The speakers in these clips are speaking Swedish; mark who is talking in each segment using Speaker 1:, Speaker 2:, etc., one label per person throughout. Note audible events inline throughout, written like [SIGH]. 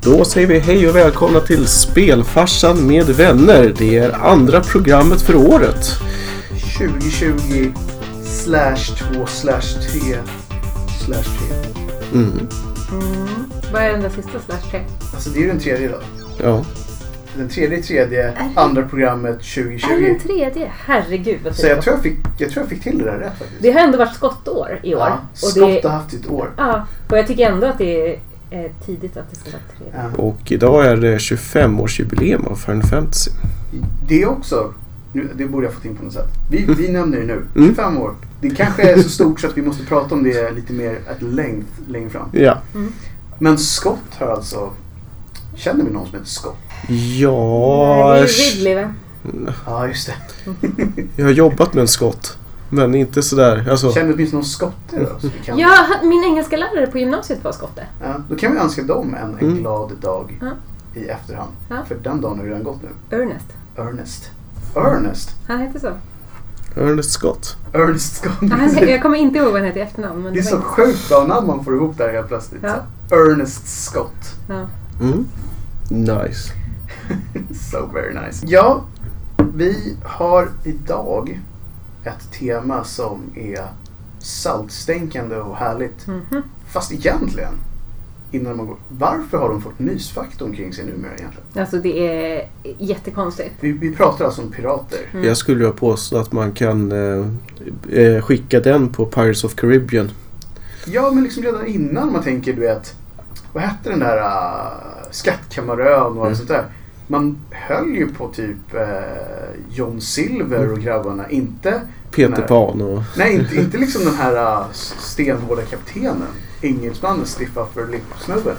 Speaker 1: Då säger vi hej och välkomna till Spelfarsan med vänner. Det är andra programmet för året.
Speaker 2: 2020 slash 2 slash 3 slash 3.
Speaker 1: Mm.
Speaker 3: Vad är den där sista slash 3?
Speaker 2: Alltså det är ju den tredje då.
Speaker 1: Ja.
Speaker 2: Den tredje tredje, andra programmet 2020.
Speaker 3: Är det Äh, den tredje? Herregud vad
Speaker 2: Så
Speaker 3: tid det
Speaker 2: jag
Speaker 3: går.
Speaker 2: tror jag fick, jag tror jag fick till det där rätt faktiskt.
Speaker 3: Det har ändå varit skottår i år.
Speaker 2: Ja,
Speaker 3: och,
Speaker 2: Skott har
Speaker 3: det,
Speaker 2: haft ett år.
Speaker 3: ja, och jag tycker ändå att det är eh, tidigt att det ska vara tredje.
Speaker 2: Ja.
Speaker 1: Och idag är det 25-årsjubileum av Final Fantasy.
Speaker 2: Det också, nu, det borde jag fått in på något sätt. Vi, vi nämner det nu,
Speaker 1: Mm.
Speaker 2: 25 år. Det kanske är så stort så att vi måste prata om det lite mer at length längre fram.
Speaker 1: Ja.
Speaker 2: Men Scott har alltså, känner vi någon som heter Scott?
Speaker 1: Ja,
Speaker 3: det är
Speaker 1: sh-
Speaker 3: ju Ridley va?
Speaker 2: Ja, just det.
Speaker 1: jag har jobbat med en skott. Men inte sådär. Alltså,
Speaker 2: Känner vi åtminstone någon skotte då? Så vi kan...
Speaker 3: Ja, han- min engelska lärare på gymnasiet var skotte.
Speaker 2: Ja, då kan vi önska dem en, en
Speaker 1: Mm.
Speaker 2: glad dag
Speaker 3: Ja.
Speaker 2: i efterhand.
Speaker 3: Ja.
Speaker 2: För den dagen har ju redan gått nu.
Speaker 3: Ernest.
Speaker 2: Ernest. Ernest?
Speaker 3: Han hette
Speaker 2: [LAUGHS]
Speaker 3: så.
Speaker 1: Ernest Scott.
Speaker 2: Ernest Scott.
Speaker 3: Ja, Han, jag kommer inte ihåg vad han hette i efternamn. Men
Speaker 2: [LAUGHS] Det är
Speaker 3: var
Speaker 2: så
Speaker 3: inte-
Speaker 2: sjukt bra namn man får ihop där helt plötsligt.
Speaker 3: Ja.
Speaker 2: Ernest Scott. [LAUGHS]
Speaker 3: Ja.
Speaker 1: Mm. Nice.
Speaker 2: So very nice. Ja, vi har idag ett tema som är saltstänkande och härligt.
Speaker 3: Mhm.
Speaker 2: Fast egentligen, innan man går, varför har de fått mysfaktorn kring sig numera egentligen?
Speaker 3: Alltså det är jättekonstigt.
Speaker 2: Vi, vi pratar alltså om pirater.
Speaker 3: Mm.
Speaker 1: Jag skulle vilja påstå att man kan eh, eh, skicka den på Pirates of Caribbean.
Speaker 2: Ja, men liksom redan innan man tänker, du vet, vad hette den där uh, skattkammarön och
Speaker 1: Mm.
Speaker 2: allt sånt där. Man höll ju på typ eh, John Silver
Speaker 1: Mm.
Speaker 2: och grabbarna. Inte,
Speaker 1: Peter
Speaker 2: Nej.
Speaker 1: Pan och...
Speaker 2: nej, inte, inte liksom den här uh, stenhårda kaptenen. Engelsmannen Stiff Upper Lip-snubben.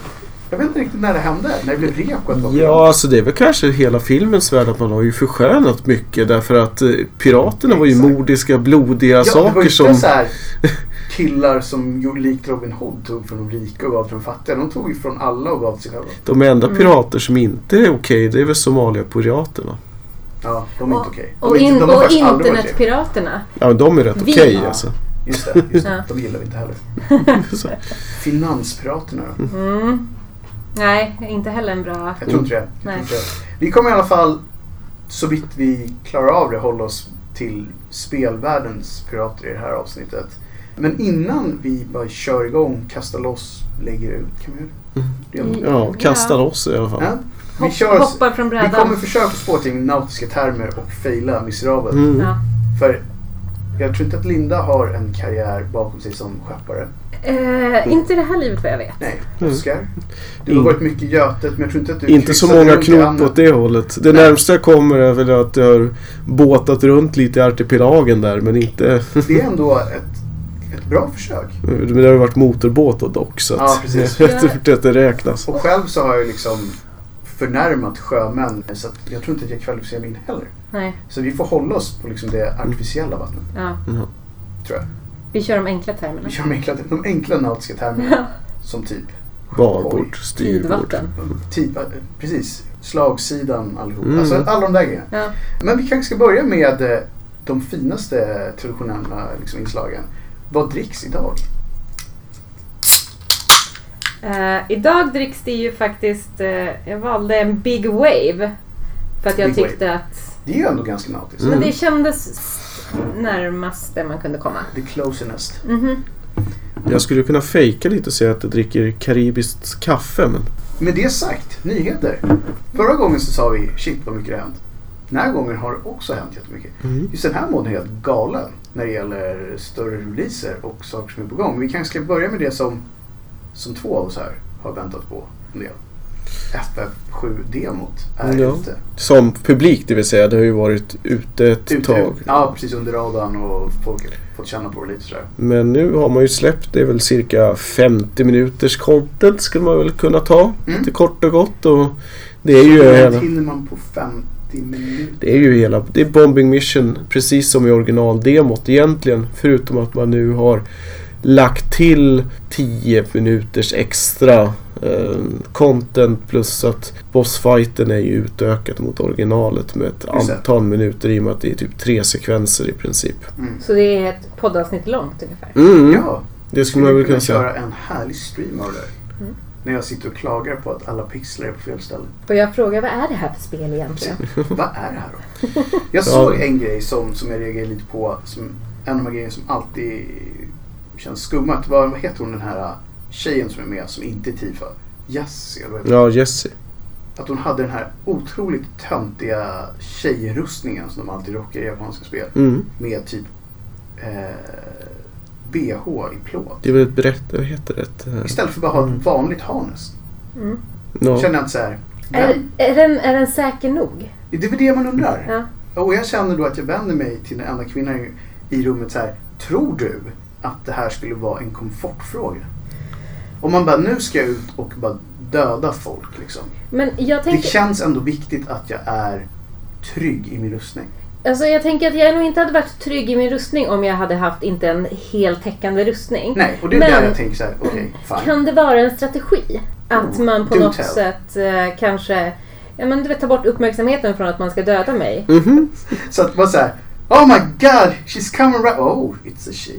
Speaker 2: Jag vet inte riktigt när det hände. När det blev reko att vara
Speaker 1: Ja, alltså det är väl kanske hela filmens värld att man har ju förskönat mycket därför att eh, piraterna var ju
Speaker 2: Exakt.
Speaker 1: mordiska, blodiga
Speaker 2: Ja, det var
Speaker 1: saker
Speaker 2: ju
Speaker 1: som...
Speaker 2: så här killar som gjorde- likt Robin Hood tog från de rika och gav till de fattiga. De tog ju från alla och gav till sig själva.
Speaker 1: De enda
Speaker 3: Mm.
Speaker 1: pirater som inte är okej, det är väl Somaliapiraterna.
Speaker 2: Ja, de är inte okej. De
Speaker 3: Och,
Speaker 2: är
Speaker 3: in,
Speaker 2: inte- de har
Speaker 3: och
Speaker 2: faktiskt aldrig varit okej.
Speaker 3: internetpiraterna.
Speaker 1: Ja, men de är rätt
Speaker 3: Vi-
Speaker 1: okej
Speaker 3: Ja.
Speaker 1: alltså.
Speaker 2: Just det, just det.
Speaker 3: Ja.
Speaker 2: de gillar vi inte heller.
Speaker 1: Så.
Speaker 2: Finanspiraterna
Speaker 3: [LAUGHS]
Speaker 2: då?
Speaker 3: Mm. Nej, inte heller en bra...
Speaker 2: Jag tror inte det. Jag tror
Speaker 3: Nej.
Speaker 2: inte det. Vi kommer i alla fall, så vitt vi klarar av det, hålla oss till spelvärldens pirater i det här avsnittet. Men innan vi bara kör igång, kastar loss, lägger ut, kan vi göra det? det? gör man.
Speaker 1: Ja, kastar oss i alla fall.
Speaker 2: Ja. Vi,
Speaker 3: Hopp,
Speaker 2: kör oss,
Speaker 3: hoppar från
Speaker 2: vi
Speaker 3: brädan.
Speaker 2: kommer försöka oss på till nautiska termer och faila miserabelt.
Speaker 1: Mm.
Speaker 3: ja.
Speaker 2: För jag tror inte att Linda har en karriär bakom sig som skeppare.
Speaker 3: Eh, inte i det här livet vad jag vet.
Speaker 2: Nej,
Speaker 1: Mm.
Speaker 2: Oskar. Du har
Speaker 1: In-
Speaker 2: varit mycket i Götet men jag tror inte att du
Speaker 1: Inte så
Speaker 2: kryssade
Speaker 1: många
Speaker 2: runt i
Speaker 1: knop
Speaker 2: hamnen.
Speaker 1: åt det hållet. Det
Speaker 2: Nej.
Speaker 1: närmsta jag kommer är väl att jag har båtat runt lite i artipelagen där men inte...
Speaker 2: Det är ändå ett, ett bra försök.
Speaker 1: [LAUGHS] Men det har ju varit motorbåt och dock så att...
Speaker 2: Ja, precis.
Speaker 1: Jag tror inte att [LAUGHS] det räknas.
Speaker 2: Och själv så har jag liksom förnärmat sjömän så att jag tror inte att jag kvalificerar mig in heller.
Speaker 3: Nej,
Speaker 2: Så vi får hålla oss på liksom det
Speaker 1: Mm.
Speaker 2: artificiella vattnet,
Speaker 3: ja.
Speaker 2: tror jag.
Speaker 3: Vi kör de enkla termerna. [LAUGHS]
Speaker 2: Vi kör de enkla, de enkla nautiska termerna som typ
Speaker 1: Babord, styrbord.
Speaker 3: Tidvatten.
Speaker 2: tid, eh, precis, slagsidan allihop.
Speaker 1: Mm.
Speaker 2: Alltså alla de där grejerna.
Speaker 3: Ja.
Speaker 2: Men vi kanske ska börja med eh, de finaste traditionella liksom, inslagen. Vad dricks idag?
Speaker 3: Eh, idag dricks det ju faktiskt... eh, jag valde en Big Wave. För att jag
Speaker 2: Big
Speaker 3: tyckte att...
Speaker 2: Det är ju ändå ganska nautiskt.
Speaker 1: Mm.
Speaker 3: Men det kändes närmast där man kunde komma.
Speaker 2: The closenest.
Speaker 3: Mhm.
Speaker 1: Jag skulle kunna fejka lite och säga att jag dricker karibiskt kaffe men...
Speaker 2: Med det sagt, nyheter. Förra gången så sa vi shit vad mycket det har hänt. Den här gången har det också hänt jättemycket. Just den här månaden är helt galen när det gäller större releaser och saker som är på gång. Vi kanske ska börja med det som, som två av oss här har väntat på en del. FF7-demot är
Speaker 1: Ja.
Speaker 2: ute.
Speaker 1: Som publik det vill säga, det har ju varit ute ett
Speaker 2: ute.
Speaker 1: tag.
Speaker 2: Ja, precis under radarn och folk har fått känna på det lite sådär.
Speaker 1: Men nu har man ju släppt, det är väl cirka 50 minuters content skulle man väl kunna ta.
Speaker 2: Mm.
Speaker 1: Lite kort och gott och det är ju
Speaker 2: Men
Speaker 1: hela...
Speaker 2: hinner man på 50 minuter?
Speaker 1: Det är ju hela... Det är Bombing Mission precis som i originaldemot egentligen. Förutom att man nu har lagt till 10 minuters extra eh, content plus att bossfighten är ju utökad mot originalet med ett
Speaker 2: Just det.
Speaker 1: antal minuter i och med att det är typ tre sekvenser i princip.
Speaker 2: Mm.
Speaker 3: Så det är ett poddavsnitt långt ungefär.
Speaker 1: Mm,
Speaker 2: Ja,
Speaker 1: det skulle
Speaker 2: skulle
Speaker 1: man
Speaker 2: vi
Speaker 1: väl kunna
Speaker 2: kunna
Speaker 1: säga.
Speaker 2: köra en härlig stream av det där. När jag sitter och klagar på att alla pixlar är på fel ställe.
Speaker 4: Och jag frågar vad är det här för spel egentligen?
Speaker 2: Vad är det här då? Jag såg en grej som, som jag reagerade lite på. Som, en av de grejerna som alltid känns skummat. Vad, vad heter hon den här äh, tjejen som är med som inte är Tifa? Jassi eller vad
Speaker 1: [LAUGHS]
Speaker 2: heter
Speaker 1: Ja, Jesse.
Speaker 2: Att hon hade den här otroligt töntiga tjejrustningen som de alltid rockar i japanska spel.
Speaker 1: Mm.
Speaker 2: Med typ eh, bh i plåt.
Speaker 1: Det är väl ett berätt... Vad heter det? Eh,
Speaker 2: Istället för att bara ha ett vanligt harness.
Speaker 4: Mm.
Speaker 1: Ja.
Speaker 2: Känner jag att så här,
Speaker 4: Är,
Speaker 2: vem?
Speaker 4: är, den, är den säker nog?
Speaker 2: Det är väl det man undrar.
Speaker 4: Ja.
Speaker 2: Och jag känner då att jag vänder mig till den enda kvinnan i- i rummet så här. Tror du att det här skulle vara en komfortfråga? Om man bara, nu ska jag ut och bara döda folk liksom.
Speaker 4: Men jag
Speaker 2: Det
Speaker 4: tänker,
Speaker 2: känns ändå viktigt att jag är trygg i min rustning.
Speaker 4: alltså jag tänker att jag nog inte hade varit trygg i min rustning om jag hade haft inte en heltäckande rustning.
Speaker 2: Nej, och det är
Speaker 4: Men-
Speaker 2: där jag tänker så här, okej, fine.
Speaker 4: Kan det vara en strategi? Att
Speaker 2: Oh,
Speaker 4: man på
Speaker 2: do
Speaker 4: något
Speaker 2: tell.
Speaker 4: sätt eh, kanske ja, men, du vet, tar bort uppmärksamheten från att man ska döda mig.
Speaker 1: Mhm.
Speaker 2: Så att bara så här, oh my god, she's coming right, oh, it's a she.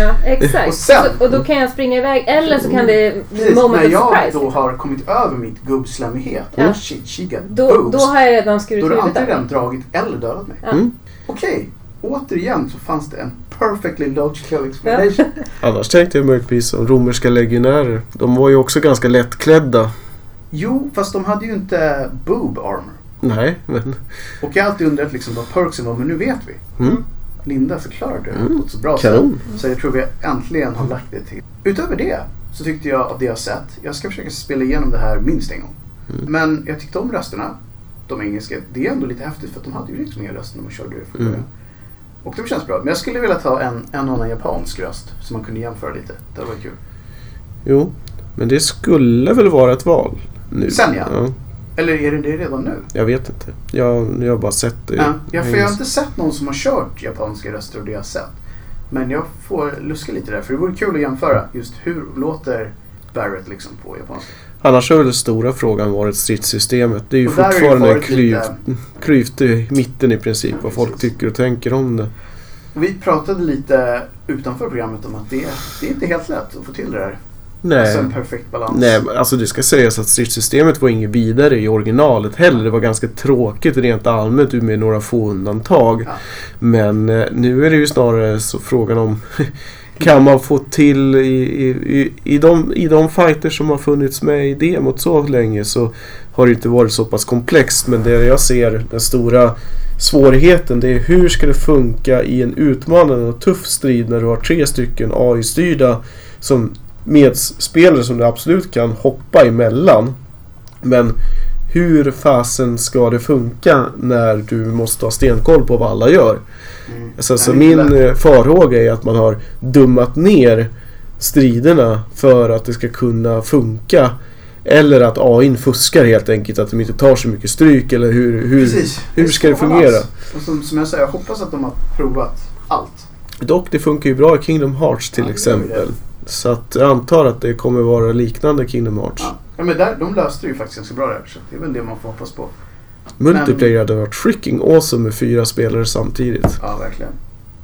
Speaker 4: Ja, exakt.
Speaker 2: Och sen- Mm,
Speaker 4: så, och då kan jag springa iväg eller så kan det bli
Speaker 2: Precis,
Speaker 4: moment
Speaker 2: när
Speaker 4: of
Speaker 2: jag
Speaker 4: surprise.
Speaker 2: då
Speaker 4: Då,
Speaker 2: har kommit över mitt gubbslämmighet,
Speaker 4: Ja.
Speaker 2: oh shit, she got
Speaker 4: då,
Speaker 2: boobs.
Speaker 4: har jag redan skurit
Speaker 2: Då har du
Speaker 4: huvudet
Speaker 2: antingen
Speaker 4: av.
Speaker 2: dragit eller dödat mig.
Speaker 4: Ja.
Speaker 1: Mm.
Speaker 2: Okej, återigen så fanns det en perfectly logical explanation.
Speaker 1: Annars tänkte jag möjligtvis som romerska legionärer. De var ju också ganska lättklädda.
Speaker 2: Jo, fast de hade ju inte boob armor.
Speaker 1: Nej, men...
Speaker 2: Och jag har alltid undrat liksom vad perksen var, men nu vet vi.
Speaker 1: Mm.
Speaker 2: Linda förklarade det
Speaker 1: Mm,
Speaker 2: på ett så bra
Speaker 1: kanon.
Speaker 2: sätt. Så jag tror vi äntligen har lagt det till. Utöver det så tyckte jag av det jag sett, jag ska försöka spela igenom det här minst en gång.
Speaker 1: Mm.
Speaker 2: Men jag tyckte om rösterna, de engelska. Det är ändå lite häftigt för att de hade ju liksom inga röster när man körde det från
Speaker 1: Mm.
Speaker 2: början. Och det känns bra. Men jag skulle vilja ta en, en annan japansk röst så man kunde jämföra lite. Det var kul.
Speaker 1: Jo, men det skulle väl vara ett val nu.
Speaker 2: Sen, ja. Eller är det det redan nu?
Speaker 1: jag vet inte. Jag, jag har bara sett det.
Speaker 2: Ja, jag, för jag har inte sett någon som har kört japanska röster och det jag har sett. Men jag får luska lite där, för det vore kul att jämföra just hur låter Barrett liksom på japanska.
Speaker 1: Annars har väl den stora frågan varit stridssystemet. Det är ju
Speaker 2: Och där har det ju
Speaker 1: fortfarande en
Speaker 2: varit
Speaker 1: klyv,
Speaker 2: lite-
Speaker 1: klyvt i mitten i princip vad folk
Speaker 2: Precis.
Speaker 1: tycker och tänker om det.
Speaker 2: Och vi pratade lite utanför programmet om att det, det är inte helt lätt att få till det där.
Speaker 1: Nej.
Speaker 2: Alltså en perfekt balans.
Speaker 1: Nej, men alltså det ska sägas att stridssystemet var inget vidare i originalet heller. Det var ganska tråkigt rent allmänt med några få undantag.
Speaker 2: Ja.
Speaker 1: Men eh, nu är det ju snarare så frågan om [LAUGHS] kan man få till i, i, i, i, de, i de fighter som har funnits med i demot så länge så har det inte varit så pass komplext. Men det jag ser den stora svårigheten det är hur ska det funka i en utmanande och tuff strid när du har tre stycken AI-styrda som medspelare som du absolut kan hoppa emellan. Men hur fasen ska det funka när du måste ha stenkoll på vad alla gör?
Speaker 2: Mm.
Speaker 1: Så, så
Speaker 2: Nej, det är inte
Speaker 1: min
Speaker 2: lätt.
Speaker 1: eh, farhåga är att man har dummat ner striderna för att det ska kunna funka. Eller att AIn fuskar helt enkelt, att de inte tar så mycket stryk eller hur... hur.
Speaker 2: Precis.
Speaker 1: hur
Speaker 2: är
Speaker 1: ska det
Speaker 2: svår
Speaker 1: fungera?
Speaker 2: balans. Och som, som jag säger, jag hoppas att de har provat allt.
Speaker 1: Dock, det funkar ju bra i Kingdom Hearts till
Speaker 2: Ja, det gör
Speaker 1: exempel. Så att jag antar att det kommer vara liknande Kingdom Hearts.
Speaker 2: Ja. Ja, men där, de löste det ju faktiskt ganska bra där. Så det är väl det man får hoppas på.
Speaker 1: Multiplayer hade varit freaking awesome med fyra spelare samtidigt.
Speaker 2: Ja, verkligen.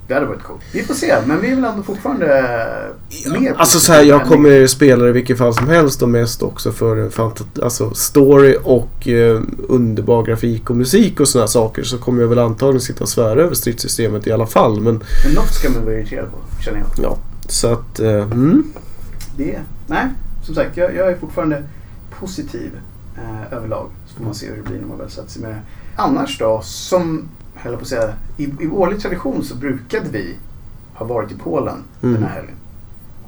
Speaker 2: Det hade varit coolt. Vi får se, men vi är väl ändå fortfarande eh, mer
Speaker 1: Alltså
Speaker 2: positiva
Speaker 1: så här, jag
Speaker 2: än-
Speaker 1: kommer spela i vilket fall som helst och mest också för fanta- alltså story och eh, underbar grafik och musik och sådana saker så kommer jag väl antagligen sitta och svära över stridssystemet i alla fall. Men
Speaker 2: Men något ska man vara irriterad på, känner jag.
Speaker 1: ja, så att... Eh, mm.
Speaker 2: Det, nej, som sagt, jag, jag är fortfarande positiv eh, överlag. Så får man se hur det blir när man väl sätter sig med det. Annars då, som, höll jag på att säga, i, i årlig tradition så brukade vi ha varit i Polen
Speaker 1: Mm.
Speaker 2: den här helgen.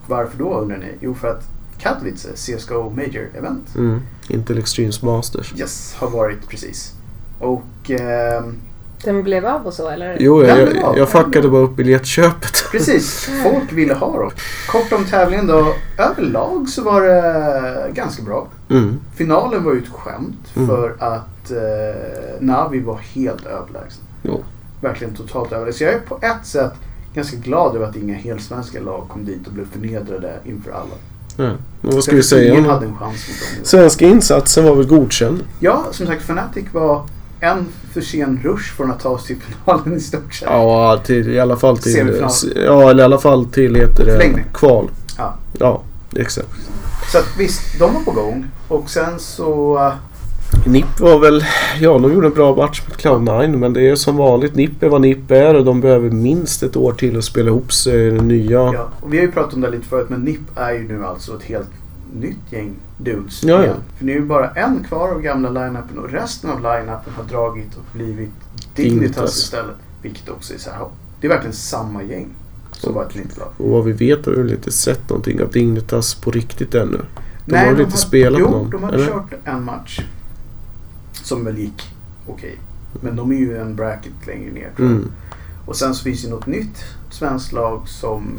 Speaker 2: Och varför då undrar ni? Jo, för att Katowice, CSGO Major Event,
Speaker 1: Mm. Intel Extremes Masters.
Speaker 2: yes, har varit precis. Och ehm,
Speaker 4: Den blev av och så eller?
Speaker 1: Jo, jag,
Speaker 2: Ja, men
Speaker 1: jag,
Speaker 2: bra.
Speaker 1: jag fuckade bara upp biljettköpet.
Speaker 2: Precis, folk ville ha dem. Kort om tävlingen då. Överlag så var det ganska bra.
Speaker 1: Mm.
Speaker 2: Finalen var ju ett skämt
Speaker 1: Mm.
Speaker 2: för att eh, Navi var helt överlägsen.
Speaker 1: Jo.
Speaker 2: Verkligen totalt överlägsen. Så jag är på ett sätt ganska glad över att inga helsvenska lag kom dit och blev förnedrade inför alla.
Speaker 1: Ja. Men vad ska
Speaker 2: Jag
Speaker 1: vi
Speaker 2: tycker Ingen
Speaker 1: säga?
Speaker 2: hade en chans mot dem.
Speaker 1: Svenska insatsen var väl godkänd?
Speaker 2: Ja, som sagt, Fnatic var en för sen rush från att ta oss till [LAUGHS] finalen i stort sett.
Speaker 1: Ja, till, i alla fall till...
Speaker 2: Semifinal.
Speaker 1: Ja, eller i alla fall till heter det
Speaker 2: Förlängning.
Speaker 1: kval.
Speaker 2: Ja.
Speaker 1: Ja, exakt.
Speaker 2: Så att, visst, de var på gång. Och sen så... eh,
Speaker 1: NIP var väl... Ja, de gjorde en bra match mot Cloud9 men det är som vanligt. NIP är vad NIP är och de behöver minst ett år till att spela ihop sig i den nya...
Speaker 2: Ja, och vi har ju pratat om det lite förut men NIP är ju nu alltså ett helt nytt gäng dudes.
Speaker 1: Ja, ja.
Speaker 2: igen. För nu är ju bara en kvar av gamla line-upen och resten av line-upen har dragit och blivit Dignitas
Speaker 1: Dignitas.
Speaker 2: istället. Vilket också är så här, det är verkligen samma gäng som var ett nytt lag.
Speaker 1: Och vad vi vet har vi väl inte sett någonting av Dignitas på riktigt ännu. De
Speaker 2: Nej,
Speaker 1: har väl inte spelat
Speaker 2: jo,
Speaker 1: någon?
Speaker 2: de har
Speaker 1: eller?
Speaker 2: kört en match. Som väl gick okej. Men de är ju en bracket längre ner tror jag.
Speaker 1: Mm.
Speaker 2: Och sen så finns det något nytt svenskt lag som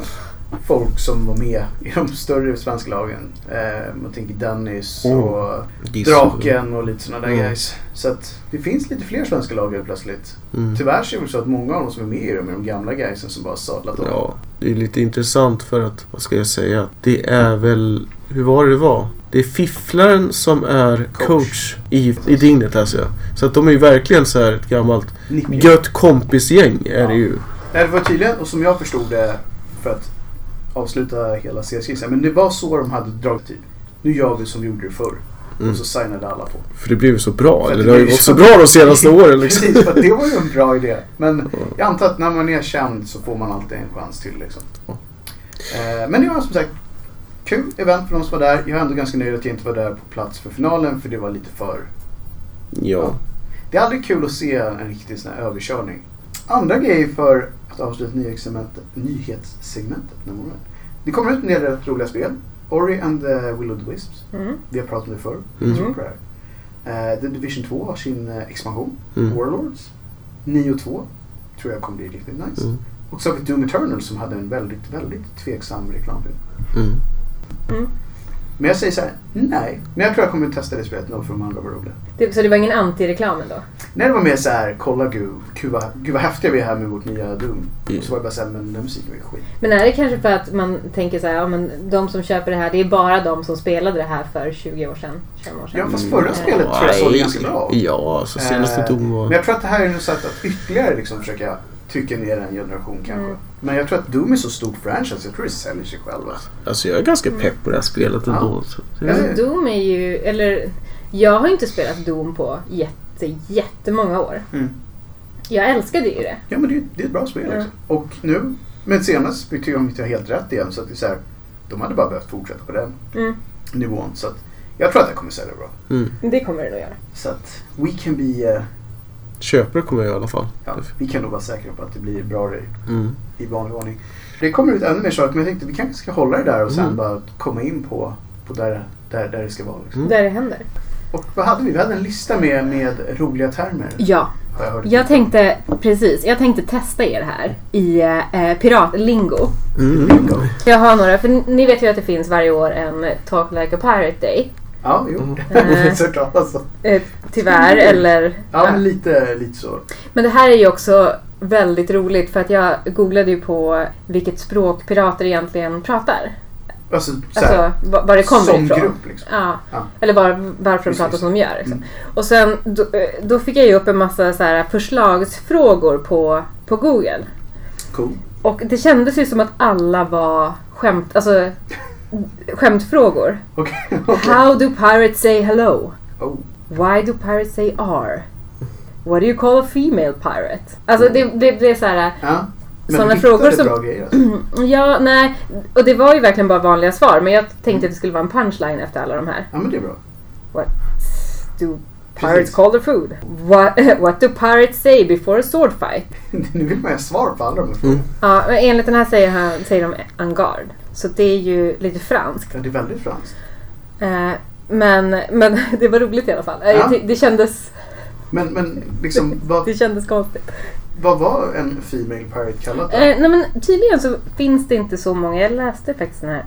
Speaker 2: folk som var med i de större svenska lagen. Eh, man tänker Dennis
Speaker 1: Mm.
Speaker 2: och Draken och lite sådana där
Speaker 1: Mm.
Speaker 2: guys. Så att det finns lite fler svenska lag helt plötsligt.
Speaker 1: Mm.
Speaker 2: Tyvärr så är det så att många av de som är med i dem är de gamla guysen som bara sadlat om.
Speaker 1: Ja, det är lite intressant för att, vad ska jag säga, det är väl, hur var det det var? Det är fifflaren som är
Speaker 2: Coach.
Speaker 1: coach, i, i Dignitas ja. Så att de är ju verkligen så här ett gammalt
Speaker 2: Nick-
Speaker 1: gött kompisgäng är
Speaker 2: Ja.
Speaker 1: det ju.
Speaker 2: Nej, det var tydligen, och som jag förstod det, för att avsluta hela CS-krisen, men det var så de hade dragit till. Nu gör vi som vi gjorde det förr.
Speaker 1: Mm.
Speaker 2: Och så signade alla på.
Speaker 1: För det blev ju så bra.
Speaker 2: För
Speaker 1: Eller
Speaker 2: det
Speaker 1: det har ju
Speaker 2: blir
Speaker 1: gått
Speaker 2: så-
Speaker 1: så bra de
Speaker 2: [LAUGHS]
Speaker 1: senaste åren liksom.
Speaker 2: Precis, för att det var ju en bra idé. Men jag antar att när man är känd så får man alltid en chans till. Liksom.
Speaker 1: Ja.
Speaker 2: Eh, Men det var som sagt kul event för de som var där. Jag är ändå ganska nöjd att jag inte var där på plats för finalen för det var lite för...
Speaker 1: Ja.
Speaker 2: Det är aldrig kul att se en riktig sån här överkörning. Andra grejer för att avsluta nyhetssegmentet, nyhetssegmentet den här morgonen. Det kommer ut en del rätt roliga spel. Ori and the Will of the Wisps.
Speaker 4: Mm.
Speaker 2: Vi har pratat om det förr.
Speaker 1: Mm.
Speaker 2: Jag tror på det här. Eh, The Division 2 har sin eh, expansion.
Speaker 1: Mm.
Speaker 2: Warlords. 9-2 tror jag kommer bli riktigt nice.
Speaker 1: Mm.
Speaker 2: Och så har vi Doom Eternal som hade en väldigt, väldigt tveksam reklamfilm.
Speaker 1: Mm.
Speaker 2: Men jag säger så här, nej. Men jag tror jag kommer testa det spelet nog för de andra var roliga.
Speaker 4: Det, så det var ingen anti-reklam ändå?
Speaker 2: Nej, det var mer så här, kolla gud, gud vad, gud vad häftiga vi är här med vårt nya Doom.
Speaker 1: Mm.
Speaker 2: Och så var det bara så här, men den musiken var ju skit.
Speaker 4: Men är det kanske för att man tänker så här, ja, men de som köper det här, det är bara de som spelade det här för 20 år sedan, 25 år sedan.
Speaker 2: Ja, fast förra
Speaker 4: Eh,
Speaker 2: spelet tror jag såg ganska bra.
Speaker 1: Mm. Ja, så senaste
Speaker 2: Eh,
Speaker 1: dom
Speaker 2: Men
Speaker 1: var...
Speaker 2: jag tror att det här är nog så att, att ytterligare liksom försöka trycka ner en generation kanske.
Speaker 4: Mm.
Speaker 2: Men jag tror att Doom är så stort franchise, jag tror det säljer sig själv. Alltså.
Speaker 1: Alltså jag är ganska pepp på det här spelet ändå. Så.
Speaker 2: Ja.
Speaker 4: Alltså Doom är ju, eller jag har ju inte spelat Doom på jätte, jättemånga år.
Speaker 2: Mm.
Speaker 4: Jag älskade ju det.
Speaker 2: Ja men det, det är ett bra spel liksom. Och nu, men senast tyckte jag om inte jag helt rätt igen så att det är så här, de hade bara behövt fortsätta på den
Speaker 4: Mm.
Speaker 2: nivån. Så att jag tror att det kommer sälja bra.
Speaker 1: Mm.
Speaker 4: Det kommer det nog göra.
Speaker 2: Så att we can be, eh,
Speaker 1: Köpare kommer jag i alla fall.
Speaker 2: ja, vi kan nog vara säkra på att det blir bra i,
Speaker 1: Mm.
Speaker 2: i vanlig ordning. Det kommer ut ännu mer saker men jag tänkte vi kanske ska hålla det där och sen
Speaker 1: Mm.
Speaker 2: bara komma in på, på där, där, där det ska vara. Liksom.
Speaker 1: Mm.
Speaker 4: Där det händer.
Speaker 2: Och vad hade vi? Vi hade en lista med, med roliga termer.
Speaker 4: Ja,
Speaker 2: Har jag hört.
Speaker 4: jag tänkte, precis, jag tänkte testa er här i eh, piratlingo.
Speaker 1: Mm.
Speaker 2: Bingo.
Speaker 4: Jag har några, för ni vet ju att det finns varje år en Talk Like a Pirate Day.
Speaker 2: Ja, jo. [LAUGHS]
Speaker 1: Mm.
Speaker 2: Det har vi hört talas om.
Speaker 4: Eh, tyvärr, eller...
Speaker 2: Ja, men lite, lite så.
Speaker 4: Men det här är ju också väldigt roligt för att jag googlade ju på vilket språk pirater egentligen pratar.
Speaker 2: Alltså, så här,
Speaker 4: Alltså va- var det kommer
Speaker 2: som
Speaker 4: ifrån.
Speaker 2: grupp liksom.
Speaker 4: Ja.
Speaker 2: Ja.
Speaker 4: Eller var, varför
Speaker 2: Precis. Mm.
Speaker 4: de pratar som de gör. Liksom. Och sen då, eh, då fick jag ju upp en massa så här förslagsfrågor på, på Google.
Speaker 2: Cool.
Speaker 4: Och det kändes ju som att alla var skämt, alltså, skämtfrågor.
Speaker 2: Okej. [LAUGHS] okej.
Speaker 4: How do pirates say hello?
Speaker 2: Oh.
Speaker 4: Why do pirates say R? What do you call a female pirate? Alltså det, det blev så här...
Speaker 2: Ja. Men
Speaker 4: Sådana
Speaker 2: du
Speaker 4: frågor
Speaker 2: hittade
Speaker 4: som-
Speaker 2: Bra grejer, alltså.
Speaker 4: Ja, nej. Och det var ju verkligen bara vanliga svar. Men jag tänkte att det skulle vara en punchline efter alla de här.
Speaker 2: Ja men det är bra. [LAUGHS]
Speaker 4: What do
Speaker 2: Precis.
Speaker 4: pirates call their food? What, [LAUGHS] what do pirates say before a sword fight?
Speaker 2: nu vill man ju ha svar på alla de här
Speaker 1: Mm.
Speaker 2: frågorna.
Speaker 4: Ja, men enligt den här säger, han, säger de angard. Så det är ju lite franskt.
Speaker 2: Ja, det är väldigt franskt.
Speaker 4: Eh, men, men [LAUGHS] det var roligt i alla fall. Eh,
Speaker 2: Ja.
Speaker 4: Det, det, kändes,
Speaker 2: Men, men
Speaker 4: [LAUGHS]
Speaker 2: liksom, vad,
Speaker 4: det kändes konstigt.
Speaker 2: vad var en Female Pirate kallad
Speaker 4: Eh,
Speaker 2: då?
Speaker 4: nej, men tydligen så finns det inte så många. Jag läste faktiskt den här.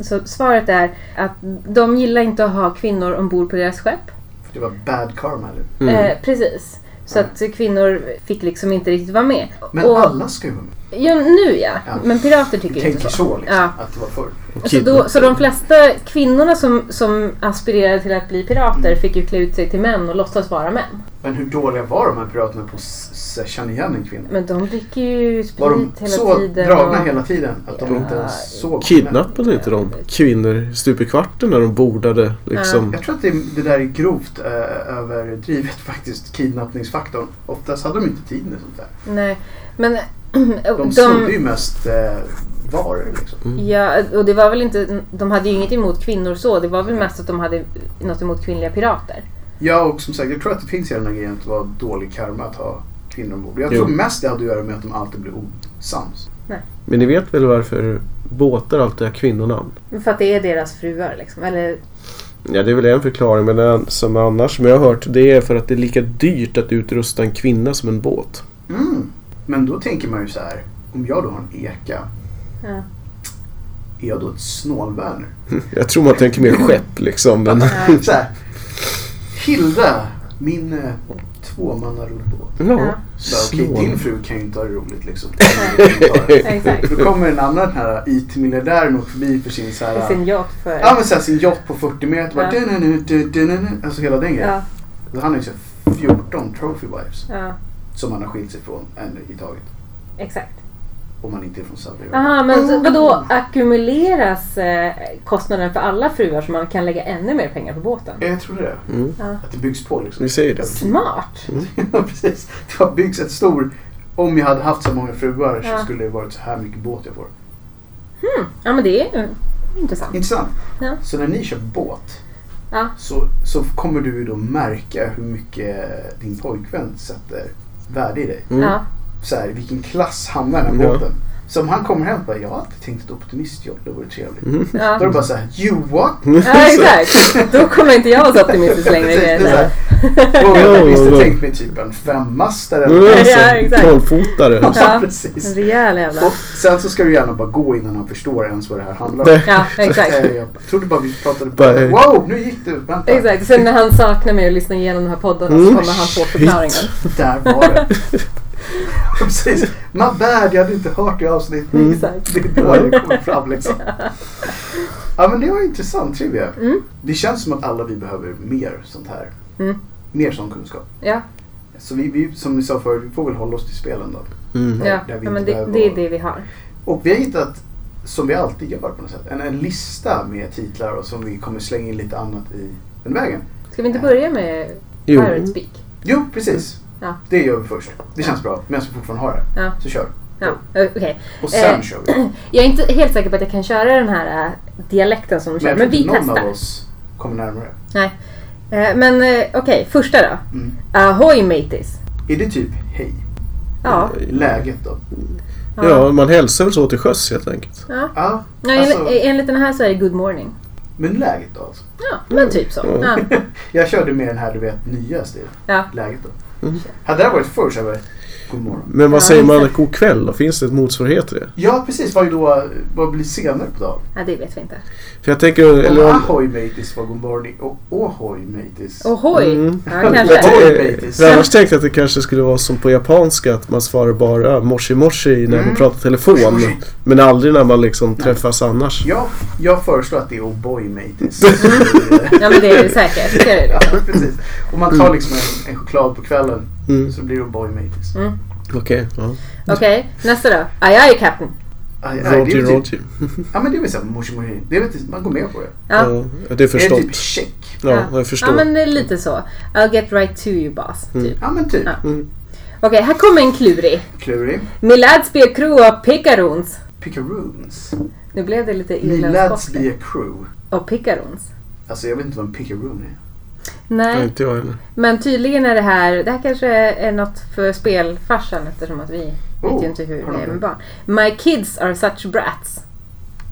Speaker 4: Så svaret är att de gillar inte att ha kvinnor ombord på deras skepp.
Speaker 2: För det var bad karma eller?
Speaker 1: Mm.
Speaker 4: Eh, precis. Så
Speaker 2: Ja.
Speaker 4: att kvinnor fick liksom inte riktigt vara med.
Speaker 2: Men
Speaker 4: och,
Speaker 2: alla ska ju vara med.
Speaker 4: ja, nu ja.
Speaker 2: Ja.
Speaker 4: Men pirater
Speaker 2: Du
Speaker 4: tycker inte
Speaker 2: tänker
Speaker 4: så.
Speaker 2: så liksom,
Speaker 4: Ja.
Speaker 2: att det var förr.
Speaker 4: Så, då, så de flesta kvinnorna som, som aspirerade till att bli pirater
Speaker 2: Mm.
Speaker 4: fick ju klä ut sig till män och låtsas vara män.
Speaker 2: Men hur dåliga var de här piraterna på att s- s- känna igen en kvinna?
Speaker 4: Men de dricker ju sprit
Speaker 2: Var de
Speaker 4: hela
Speaker 2: så
Speaker 4: tiden.
Speaker 2: dragna
Speaker 4: och-
Speaker 2: hela tiden att de
Speaker 1: Ja.
Speaker 2: inte ens såg
Speaker 1: Kidnappade inte de kvinnor stup i kvarten när de bordade liksom?
Speaker 2: Jag tror att det, det där är grovt eh, överdrivet [LAUGHS] faktiskt, kidnappningsfaktorn. Oftast hade de inte tid med sånt där.
Speaker 4: Nej, men... [CLEARS THROAT]
Speaker 2: De snodde ju mest eh, varor liksom.
Speaker 1: Mm.
Speaker 4: Ja, och det var väl inte, de hade ju inget emot kvinnor så. Det var
Speaker 2: Mm.
Speaker 4: väl mest att de hade något emot kvinnliga pirater.
Speaker 2: Ja och som sagt, jag tror att det finns hela den här grejen att vara dålig karma att ha kvinnor ombord. Jag
Speaker 1: Jo.
Speaker 2: tror mest det hade att göra med att de alltid blev osams.
Speaker 1: Men ni vet väl varför båtar alltid har kvinnonamn?
Speaker 4: För att det är deras fruar liksom. Eller,
Speaker 1: Ja, det är väl en förklaring, men den som annars som jag har hört det är för att det är lika dyrt att utrusta en kvinna som en båt. [LAUGHS]
Speaker 2: Mm. Men då tänker man ju så här, om jag då har en eka, [LAUGHS]
Speaker 4: ja.
Speaker 2: är jag då ett snålvärn?
Speaker 1: Jag tror man tänker mer skepp liksom, men...
Speaker 2: Så här, Hilda, min eh, tvåmannarodbåt.
Speaker 1: Ja,
Speaker 2: Så, Okej,
Speaker 1: snål.
Speaker 2: din fru kan ju inte ha det
Speaker 1: [LAUGHS]
Speaker 2: roligt liksom. Kan ju inte ha det.
Speaker 4: exakt.
Speaker 2: Då kommer en annan den här IT-miljardären och förbi för sin så
Speaker 4: I
Speaker 2: här...
Speaker 4: sin yacht för...
Speaker 2: Ja men såhär sin yacht på 40 meter. Bara,
Speaker 4: Ja.
Speaker 2: du-nu-nu, du-du-nu-nu. Alltså hela den grejen.
Speaker 4: ja,
Speaker 2: Då Han har ju så här 14 trophy wives
Speaker 4: ja,
Speaker 2: som han har skilt sig från en i taget.
Speaker 4: exakt.
Speaker 2: Om han inte är från Saudi Arabien.
Speaker 4: Aha, men så- vadå akkumuleras eh, kostnaden för alla fruar så man kan lägga ännu mer pengar på båten?
Speaker 2: Ja, Jag tror det.
Speaker 1: Mm.
Speaker 4: Ja.
Speaker 2: Att det byggs på liksom.
Speaker 1: Vi säger det.
Speaker 4: Smart!
Speaker 2: [LAUGHS] Ja, precis. Det har byggts ett stor... Om jag hade haft så många fruar
Speaker 4: Ja.
Speaker 2: så skulle det varit så här mycket båt jag får.
Speaker 4: Ja men det är ju intressant.
Speaker 2: Intressant.
Speaker 4: Ja.
Speaker 2: Så när ni köper båt
Speaker 4: Ja.
Speaker 2: så, så kommer du ju då märka hur mycket din pojkvän sätter värde i dig.
Speaker 1: Mm.
Speaker 4: Ja.
Speaker 2: Så här, vilken klass hamnar den här
Speaker 1: Ja.
Speaker 2: båten. Så om han kommer hem och bara, jag har alltid tänkt ett optimistjobb, det vore trevligt.
Speaker 1: Mm.
Speaker 4: Ja.
Speaker 2: Då är det bara så här, you what?
Speaker 4: ja exakt. Då kommer inte jag vara så optimistisk längre.
Speaker 2: Precis,
Speaker 4: kan
Speaker 2: [LAUGHS] det är
Speaker 4: jag
Speaker 2: så här.
Speaker 4: säga.
Speaker 2: "Åh, jag hade
Speaker 1: Ja,
Speaker 2: visst
Speaker 1: ja, ja.
Speaker 2: tänkt mig typ en
Speaker 1: [LAUGHS]
Speaker 2: femmastare.
Speaker 1: Mm,
Speaker 2: eller-
Speaker 1: alltså,
Speaker 4: Ja,
Speaker 2: [LAUGHS]
Speaker 4: exakt.
Speaker 1: Tolvfotare.
Speaker 4: Ja. En
Speaker 2: precis.
Speaker 4: rejäl jävla...
Speaker 2: Och sen så ska du gärna bara gå innan han förstår ens vad det här handlar om.
Speaker 1: Nej.
Speaker 4: Ja exakt.
Speaker 2: Eh, Jag trodde bara vi pratade
Speaker 1: Bara, eh.
Speaker 2: bara, wow nu gick du, vänta.
Speaker 4: Exakt, sen när han saknar mig och lyssnar igenom de här poddarna
Speaker 1: Mm.
Speaker 4: så kommer han få förklaringen.
Speaker 2: Där var
Speaker 4: [LAUGHS]
Speaker 2: det. Precis. My bad, jag hade inte hört det i avsnittet.
Speaker 1: Mm.
Speaker 4: Exakt.
Speaker 2: Det är då det kommer fram liksom. Ja men det var intressant trivia.
Speaker 4: Mm.
Speaker 2: Det känns som att alla vi behöver mer sånt här.
Speaker 4: Mm.
Speaker 2: Mer sån kunskap.
Speaker 4: Ja,
Speaker 2: Så vi, vi, som vi sa förut, vi får väl hålla oss till spelen då.
Speaker 1: Mm.
Speaker 4: ja.
Speaker 2: Där vi
Speaker 4: ja
Speaker 2: inte
Speaker 4: men det,
Speaker 2: behöver
Speaker 4: det är
Speaker 2: vara-
Speaker 4: det vi har.
Speaker 2: Och vi har hittat, som vi alltid gör på något sätt, en, en lista med titlar och som vi kommer slänga in lite annat i den vägen.
Speaker 4: Ska vi inte börja med
Speaker 1: Jo.
Speaker 4: Pirates Peak?
Speaker 2: Jo, precis.
Speaker 4: Ja.
Speaker 2: Det gör vi först. Det känns bra. Medan vi fortfarande har det.
Speaker 4: Ja.
Speaker 2: Så kör.
Speaker 4: Ja, eh, okej.
Speaker 2: Och sen
Speaker 4: Eh,
Speaker 2: kör vi.
Speaker 4: Jag är inte helt säker på att jag kan köra den här eh, dialekten som de kör,
Speaker 2: jag
Speaker 4: men
Speaker 2: tror
Speaker 4: vi
Speaker 2: inte någon av
Speaker 4: testar.
Speaker 2: oss kommer närmare.
Speaker 4: Nej. Eh, Men eh, okej, första då.
Speaker 2: Mm.
Speaker 4: Ahoy mateys.
Speaker 2: Är det typ hej?
Speaker 4: Ja.
Speaker 2: Läget då?
Speaker 1: Ja, man hälsar väl så till sjöss helt enkelt.
Speaker 4: ja.
Speaker 2: Ja,
Speaker 4: ja en,
Speaker 2: alltså,
Speaker 4: enligt den här så är det good morning.
Speaker 2: men läget då alltså. [LAUGHS]
Speaker 4: Ja, men typ så. Ja.
Speaker 2: Jag körde med den här du vet nya stilen.
Speaker 4: Ja.
Speaker 2: Läget då.
Speaker 1: Mm.
Speaker 2: Hade det här varit förr så hade jag varit god morgon.
Speaker 1: Men vad
Speaker 4: Ja,
Speaker 1: säger man
Speaker 4: exakt.
Speaker 1: god kväll då? Finns det ett motsvarighet till det?
Speaker 2: Ja precis, vad, är då, vad blir senare på dagen?
Speaker 4: ja, det vet vi inte.
Speaker 1: För jag tänker...
Speaker 2: Eller
Speaker 1: Eller om,
Speaker 2: Ahoy mateys var god morgon och Ohoj mateys.
Speaker 4: Ahoy!
Speaker 1: Mm. [LAUGHS]
Speaker 4: Ja,
Speaker 1: Jag
Speaker 4: kanske.
Speaker 1: tänker- för annars tänkte jag att det kanske skulle vara som på japanska att man svarar bara morsi morsi när
Speaker 2: Mm.
Speaker 1: man pratar telefon.
Speaker 2: Morsi.
Speaker 1: Men aldrig när man liksom träffas annars.
Speaker 2: Ja, jag föreslår att det är O'boy mateys.
Speaker 4: [LAUGHS] Ja, men det är det säkert. Det är det.
Speaker 2: [LAUGHS] ja, precis. Om man tar liksom en, en choklad på kvällen
Speaker 1: Mm.
Speaker 2: så blir det O'boy mateys.
Speaker 1: Okej. ja.
Speaker 4: Okej, nästa då. Aj, aj, captain.
Speaker 2: Aj, aj, det är
Speaker 1: Roger
Speaker 2: väl typ-
Speaker 1: Roger.
Speaker 2: Ja men det är väl såhär morsi morsi. Det är väl typ- Man går med på det.
Speaker 4: Ja.
Speaker 1: Ja, det är
Speaker 2: Är det
Speaker 1: förstått.
Speaker 2: typ check?
Speaker 1: Ja, jag förstår.
Speaker 4: Ja, men eh, lite så. I'll get right to you, boss. Typ.
Speaker 1: Mm.
Speaker 2: Ja men typ.
Speaker 4: Ja. Okej, här kommer en klurig.
Speaker 2: Klurig.
Speaker 4: Min lads be a crew of picarons.
Speaker 2: Picaroons.
Speaker 4: Nu blev det lite
Speaker 2: Milads
Speaker 4: irländsk
Speaker 2: be a crew.
Speaker 4: Och picarons.
Speaker 2: Alltså jag vet inte vad en picaroon är.
Speaker 1: Nej,
Speaker 4: Nej,
Speaker 1: inte jag heller.
Speaker 4: men tydligen är det här, det här kanske är något för spelfarsan eftersom att vi vet
Speaker 2: Oh,
Speaker 4: ju inte hur
Speaker 2: har
Speaker 4: det
Speaker 2: de
Speaker 4: är med
Speaker 2: det?
Speaker 4: barn. My kids are such brats.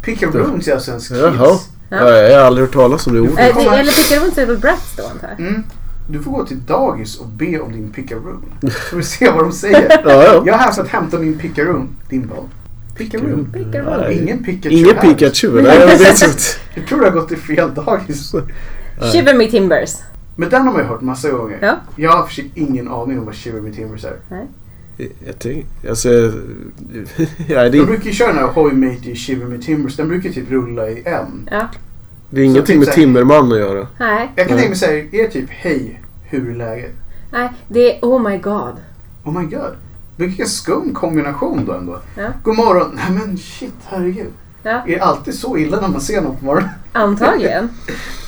Speaker 2: Picaroons är alltså en skiss.
Speaker 1: Jaha. Ja. Jag har aldrig hört talas om det ordet.
Speaker 4: Äh, det,
Speaker 2: komma.
Speaker 4: eller picarons är väl brats då antar jag?
Speaker 2: Mm. Du får gå till dagis och be om din picaroon. Så får vi se vad de säger.
Speaker 1: [LAUGHS] Ja, ja.
Speaker 2: Jag är här för att hämta min picaroon. Din vad? Picaroon.
Speaker 4: Picaroon.
Speaker 1: Nej.
Speaker 2: Ingen Pikachu
Speaker 1: Ingen
Speaker 2: här.
Speaker 1: Pikachu. Nej, jag vet
Speaker 4: [LAUGHS]
Speaker 1: inte.
Speaker 2: Jag tror du har gått till
Speaker 1: [LAUGHS]
Speaker 2: fel dagis.
Speaker 1: Nej.
Speaker 4: Shiver me timbers.
Speaker 2: Men den har man ju hört massa gånger.
Speaker 4: Ja.
Speaker 2: Jag har för sig ingen aning om vad Shiver Me Timbers är.
Speaker 4: Nej.
Speaker 1: Jag tänker, alltså... [LAUGHS] ja, det,
Speaker 4: Mm.
Speaker 2: De
Speaker 1: är-
Speaker 2: brukar ju köra den här Hoy Matey Shiver Me Timbers. Den brukar ju typ rulla i en.
Speaker 4: Ja.
Speaker 1: det är ingenting
Speaker 4: typ
Speaker 1: med Timmerman att
Speaker 4: [LAUGHS]
Speaker 1: göra.
Speaker 4: Nej.
Speaker 2: Jag
Speaker 1: Mm.
Speaker 2: kan tänka mig säga, är det typ hej, hur är läget?
Speaker 4: Nej. Det är oh my god.
Speaker 2: Oh my god. Vilken skum kombination då ändå.
Speaker 4: Ja.
Speaker 2: God morgon. Nej men shit, herregud.
Speaker 4: Ja.
Speaker 2: Är det alltid så illa när man ser någon på morgonen? [LAUGHS]
Speaker 4: Antagligen.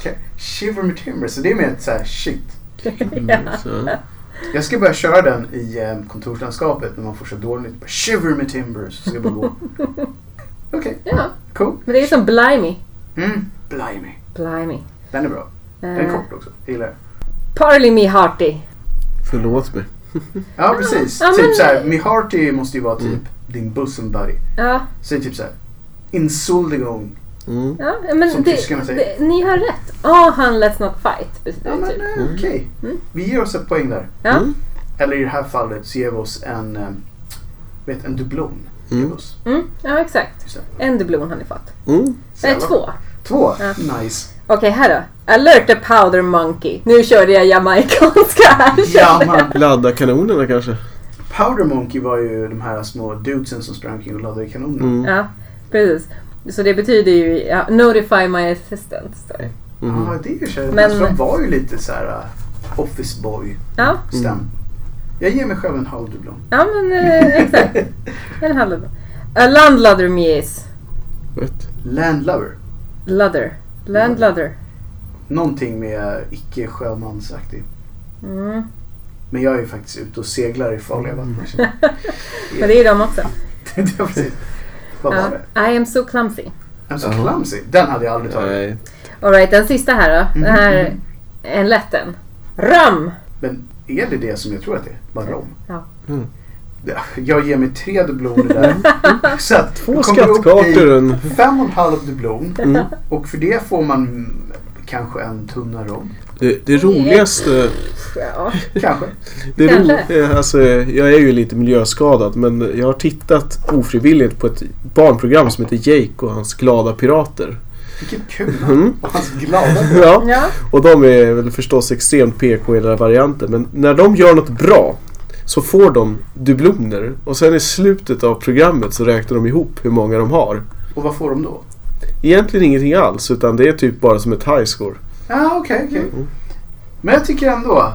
Speaker 2: Okej. Shiver Me Timbers. Så det är mer ett så här shit.
Speaker 1: Mm, så.
Speaker 2: Jag ska börja köra den i eh, kontorslandskapet när man får så dåligt. Bara, Shiver me timbers. Så ska jag bara
Speaker 4: [LAUGHS]
Speaker 2: gå. Okej,
Speaker 4: Ja.
Speaker 2: cool.
Speaker 4: Men det är som Blimey.
Speaker 2: Mm. Blimey.
Speaker 4: Blimey.
Speaker 2: Den är bra. Den är
Speaker 4: Eh,
Speaker 2: kort också. Jag gillar den.
Speaker 4: Parley me hearty.
Speaker 1: Förlåt mig.
Speaker 2: Ja, precis.
Speaker 4: ja,
Speaker 2: typ
Speaker 4: men-
Speaker 2: såhär, me hearty måste ju vara typ
Speaker 1: Mm.
Speaker 2: din bosom buddy.
Speaker 4: Ja.
Speaker 2: Säg typ såhär, insoldigång.
Speaker 1: Mm.
Speaker 4: ja men
Speaker 2: Som
Speaker 4: det,
Speaker 2: tyskarna säger.
Speaker 4: det, ni har rätt. Ah, han let's not fight.
Speaker 2: Ja, men
Speaker 4: Typ.
Speaker 2: eh,
Speaker 1: Mm.
Speaker 2: okej.
Speaker 4: Mm.
Speaker 2: Vi ger oss ett poäng där.
Speaker 4: Ja.
Speaker 1: Mm.
Speaker 2: Eller i det här fallet så ger vi oss en, eh, vet, en dublon.
Speaker 1: Mm.
Speaker 2: Ger vi oss. Typ
Speaker 4: Mm, ja, exakt. En dublon har ni fått.
Speaker 1: Mm.
Speaker 4: Nej,
Speaker 2: Jävlar.
Speaker 4: två.
Speaker 2: Två?
Speaker 4: Ja. [LAUGHS]
Speaker 2: Nice.
Speaker 4: Okej, här då. Alert the powder monkey. Nu körde jag jamaicanska här.
Speaker 2: [LAUGHS] Ja, man.
Speaker 1: Ladda kanonerna kanske?
Speaker 2: Powder Monkey var ju de här små dudesen som sprang omkring och laddade kanoner.
Speaker 1: Mm.
Speaker 4: Ja, precis. Så det betyder ju ja, notify my assistant. står det.
Speaker 1: Mm.
Speaker 2: Ja, det är ju så.
Speaker 4: Men-
Speaker 2: Men... De var ju lite så här uh, office boy
Speaker 4: Ja,
Speaker 2: stäm.
Speaker 1: Mm.
Speaker 2: Jag ger mig själv en halv dublon.
Speaker 4: ja men eh,
Speaker 2: [LAUGHS]
Speaker 4: exakt. En halv dublon. A landlodder mies.
Speaker 1: Vet.
Speaker 2: Landlover.
Speaker 4: Ludder. Landlodder.
Speaker 2: Någonting med icke sjömansaktig.
Speaker 4: Mm. [LAUGHS]
Speaker 2: Men jag är ju faktiskt ute och seglar i farliga
Speaker 1: Mm. [LAUGHS]
Speaker 2: vatten. känner
Speaker 4: Men det är de också.
Speaker 2: jag. Det var precis. Vad var
Speaker 4: Ja.
Speaker 2: det?
Speaker 4: I am so clumsy.
Speaker 2: I'm so
Speaker 1: Jaha.
Speaker 2: clumsy. Den hade jag aldrig tagit.
Speaker 1: Nej.
Speaker 4: Alright, den sista här då. Den här,
Speaker 2: Mhm.
Speaker 4: en lätten. Ram!
Speaker 2: Men är det det som jag tror att det är? Bara rom?
Speaker 4: Ja.
Speaker 1: Mm.
Speaker 2: Ja, Jag ger mig tre dubloner där. så att
Speaker 1: Mm. Två
Speaker 2: jag kommer upp i
Speaker 1: skattkartor. En...
Speaker 2: Fem och en halv dublon.
Speaker 1: Mm.
Speaker 2: Och för det får man mm, kanske en tunna rom.
Speaker 1: Det, det roligaste...
Speaker 4: Ja.
Speaker 2: Kanske.
Speaker 1: Det är ro,
Speaker 4: Kanske.
Speaker 1: eh, alltså, jag är ju lite miljöskadad men jag har tittat ofrivilligt på ett barnprogram som heter Jake och hans glada pirater. [LAUGHS]
Speaker 2: Vilket kul
Speaker 1: Mm.
Speaker 2: Och hans glada
Speaker 1: Ja.
Speaker 4: ja.
Speaker 1: Och de är väl förstås extremt PK i den här varianten men när de gör något bra så får de dubloner och sen i slutet av programmet så räknar de ihop hur många de har.
Speaker 2: Och vad får de då?
Speaker 1: Egentligen ingenting alls utan det är typ bara som ett high score.
Speaker 2: Ja, ah, okej, okej.
Speaker 1: Mm.
Speaker 2: Men jag tycker ändå,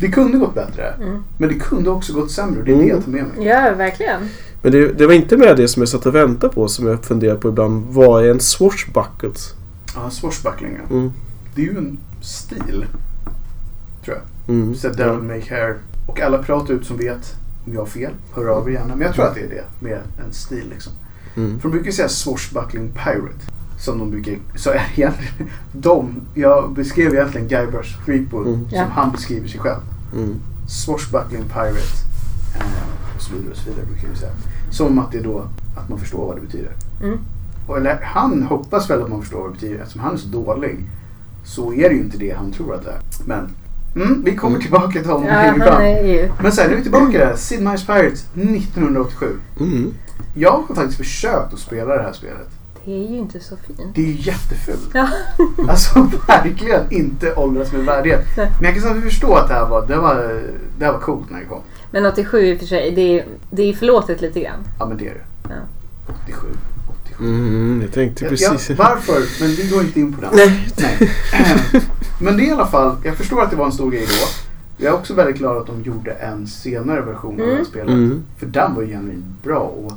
Speaker 2: det kunde gått bättre.
Speaker 4: Mm.
Speaker 2: Men det kunde också gått sämre. Det är
Speaker 1: Mm.
Speaker 2: det jag tar med mig.
Speaker 4: Ja, verkligen.
Speaker 1: Men det, det var inte med det som jag satt och väntade på som jag funderar på ibland. Vad är en swashbucket?
Speaker 2: Ja, swashbuckling. ja.
Speaker 1: Mm.
Speaker 2: Det är ju en stil.
Speaker 1: Mm.
Speaker 2: Så devil make hair. Och alla pratar ut som vet. Om jag har fel, hör av er gärna. Men jag tror att det är det. Med en stil liksom.
Speaker 1: Mm.
Speaker 2: För de brukar ju säga swashbuckling pirate. Som de brukar... Så [LAUGHS] är egentligen... De... Jag beskrev egentligen Guybrush Threepwood
Speaker 1: Mm.
Speaker 2: som
Speaker 4: Ja.
Speaker 2: han beskriver sig själv.
Speaker 1: Mm.
Speaker 2: Swashbuckling Pirate eh, och så vidare och så vidare brukar vi säga. Som att det är då att man förstår vad det betyder.
Speaker 4: Mm.
Speaker 2: Och eller, han hoppas väl att man förstår vad det betyder eftersom han är så dålig. Så är det ju inte det han tror att det är. Men mm, vi kommer tillbaka till honom
Speaker 4: Ja,
Speaker 2: längre
Speaker 4: han
Speaker 2: fram.
Speaker 4: är ju...
Speaker 2: Men sen är vi tillbaka där. Sid Meier's Pirates 1987.
Speaker 1: Mm.
Speaker 2: Jag har faktiskt försökt att spela det här spelet.
Speaker 4: Det är ju inte så fint.
Speaker 2: Det är ju jättefult.
Speaker 4: Ja.
Speaker 2: [LAUGHS] Alltså verkligen inte åldras med värdighet. Men jag kan samtidigt förstå att det här var, det var, det här var coolt när det kom.
Speaker 4: Men 87 i och för sig, det är, det är förlåtet lite grann.
Speaker 2: Ja men det är det.
Speaker 4: Ja.
Speaker 2: 87. 87.
Speaker 1: Mm, jag tänkte
Speaker 2: Jag-
Speaker 1: precis.
Speaker 2: Jag, varför? Men vi går inte in på den. Nej. Men det är i alla fall, jag förstår att det var en stor grej då. Jag är också väldigt glad att de gjorde en senare version av det här
Speaker 4: Mm.
Speaker 2: spelet.
Speaker 1: Mm.
Speaker 2: För den var ju genuint bra och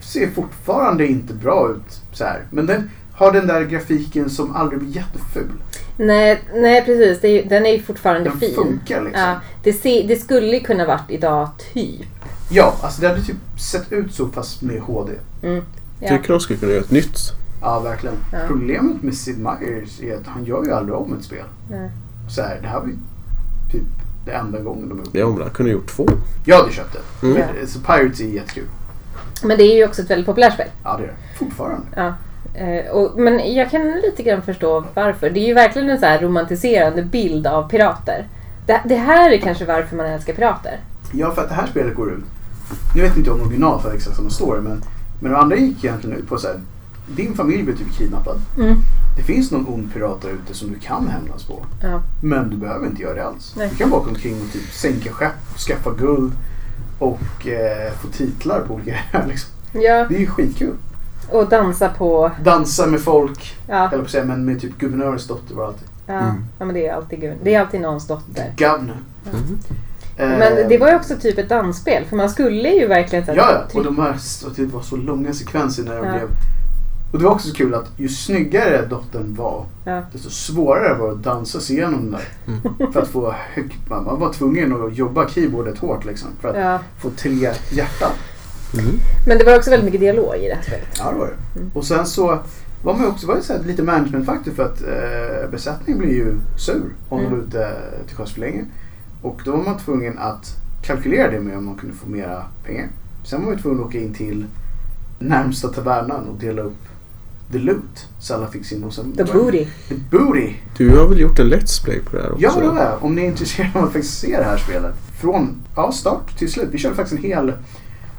Speaker 2: ser fortfarande inte bra ut så här. Men den har den där grafiken som aldrig blir jätteful.
Speaker 4: Nej, nej precis. Det är, ju- den är ju fortfarande
Speaker 2: Den
Speaker 4: fin.
Speaker 2: funkar liksom.
Speaker 4: Ja, det, ser, det skulle ju kunna varit idag, typ.
Speaker 2: Ja, alltså det hade typ sett ut så fast med HD.
Speaker 4: Mm. Ja.
Speaker 1: Tycker de skulle kunna göra ett nytt.
Speaker 2: Ja, verkligen.
Speaker 4: Ja.
Speaker 2: Problemet med Sid Meier's är att han gör ju aldrig om ett spel.
Speaker 4: Nej.
Speaker 2: Så här, det här var ju typ det enda gången de har gjort
Speaker 1: Ja, men han kunde gjort två.
Speaker 2: Jag hade köpt det.
Speaker 1: Mm.
Speaker 2: Men, Så Pirates är jättekul.
Speaker 4: Men det är ju också ett väldigt populärt spel.
Speaker 2: Ja, det är det. Fortfarande.
Speaker 4: Eh, och, men jag kan lite grann förstå varför. Det är ju verkligen en så här romantiserande bild av pirater. Det, det här är kanske varför man älskar pirater.
Speaker 2: Ja, för att det här spelet går ut. Nu vet inte jag om original för exakt samma story, men, men de andra gick egentligen ut på så här. Din familj blir typ kidnappad.
Speaker 4: Mm.
Speaker 2: Det finns någon ond pirat där ute som du kan hämnas på.
Speaker 4: Ja.
Speaker 2: Men du behöver inte göra det alls.
Speaker 4: Nej.
Speaker 2: Du kan bara gå omkring och typ sänka skepp, skaffa guld, och eh, få titlar på olika [LAUGHS] liksom.
Speaker 4: Ja,
Speaker 2: Det är ju skitkul.
Speaker 4: och dansa på...
Speaker 2: Dansa med folk,
Speaker 4: Ja,
Speaker 2: eller på att säga, men med typ guvernörens dotter var alltid.
Speaker 4: ja,
Speaker 1: Mm.
Speaker 4: ja men det är alltid gud. Det är alltid någons dotter.
Speaker 2: Governor.
Speaker 1: Mm.
Speaker 2: Eh,
Speaker 4: Men det var ju också typ ett dansspel för man skulle ju verkligen... så här-
Speaker 2: Ja, ja. Och de här, och det var så långa sekvenser när de
Speaker 4: Ja.
Speaker 2: blev... Och det var också så kul att ju snyggare dottern var,
Speaker 4: Ja.
Speaker 2: desto svårare var det att dansa sig igenom den där.
Speaker 1: mm.
Speaker 2: För att få högt... Man man var tvungen att jobba keyboardet hårt liksom. För att
Speaker 4: Ja.
Speaker 2: få tre hjärtan.
Speaker 1: Mm.
Speaker 4: Men det var också väldigt mycket dialog i det här spelet.
Speaker 2: Ja, det var det. Och sen så var man ju också var det så här, lite managementfaktor för att eh, besättningen blir ju sur om de
Speaker 4: Mm.
Speaker 2: var ute till sjöss för länge. Och då var man tvungen att kalkylera det med om man kunde få mera pengar. Sen var man ju tvungen att åka in till närmsta tavernan och dela upp the loot. Så alla fick sin... och sen-
Speaker 4: The booty.
Speaker 2: The booty!
Speaker 1: Du har väl gjort en Let's Play på det här också?
Speaker 2: Ja, det var det. Om ni är intresserade av att faktiskt se det här spelet. Från ja, start till slut. Vi körde faktiskt en hel,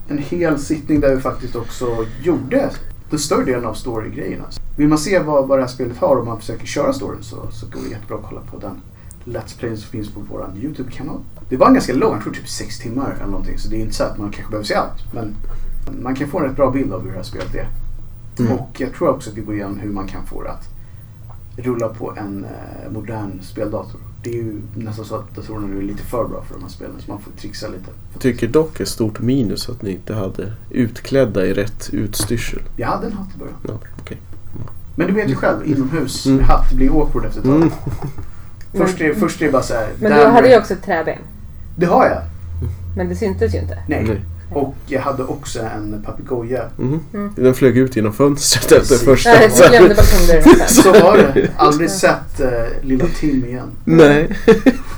Speaker 2: en hel sittning där vi faktiskt också gjorde den större delen av storygrejerna. alltså. Vill man se vad, vad det här spelet har om man försöker köra storyn så, så går det jättebra att kolla på den Let's Play som finns på vår YouTube-kanal. Det var en ganska lång, jag tror typ sex timmar eller någonting. Så det är inte så att man kanske behöver se allt. Men man kan få en rätt bra bild av hur det här spelet är.
Speaker 1: Mm.
Speaker 2: Och jag tror också att vi går igenom hur man kan få det att rulla på en eh, modern speldator. Det är ju nästan så att datorerna nu är lite för bra för de här spelen så man får trixa lite.
Speaker 1: Jag tycker dock är stort minus att ni inte hade utklädda i rätt utstyrsel.
Speaker 2: Jag hade en hatt i början.
Speaker 1: Ja, okej.
Speaker 2: Men du vet ju själv, inomhus
Speaker 1: Mm.
Speaker 2: med hatt blir awkward efter ett tag.
Speaker 1: Mm.
Speaker 2: Först, är, först är det bara så här,
Speaker 4: Men
Speaker 2: damn
Speaker 4: du hade
Speaker 2: right.
Speaker 4: ju också ett träben.
Speaker 2: Det har jag!
Speaker 4: Men det syntes ju
Speaker 2: [LAUGHS]
Speaker 4: inte.
Speaker 2: Nej.
Speaker 1: Nej.
Speaker 2: Och jag hade också en papegoja.
Speaker 1: Mhm.
Speaker 4: Mm.
Speaker 1: Den flög ut genom fönstret efter
Speaker 2: Precis.
Speaker 4: [LAUGHS]
Speaker 1: första...
Speaker 4: Nej, du glömde balkongdörren.
Speaker 2: [LAUGHS]
Speaker 4: också.
Speaker 2: Så var det.
Speaker 4: [LAUGHS]
Speaker 2: Aldrig sett eh, lilla Tim igen.
Speaker 1: Nej.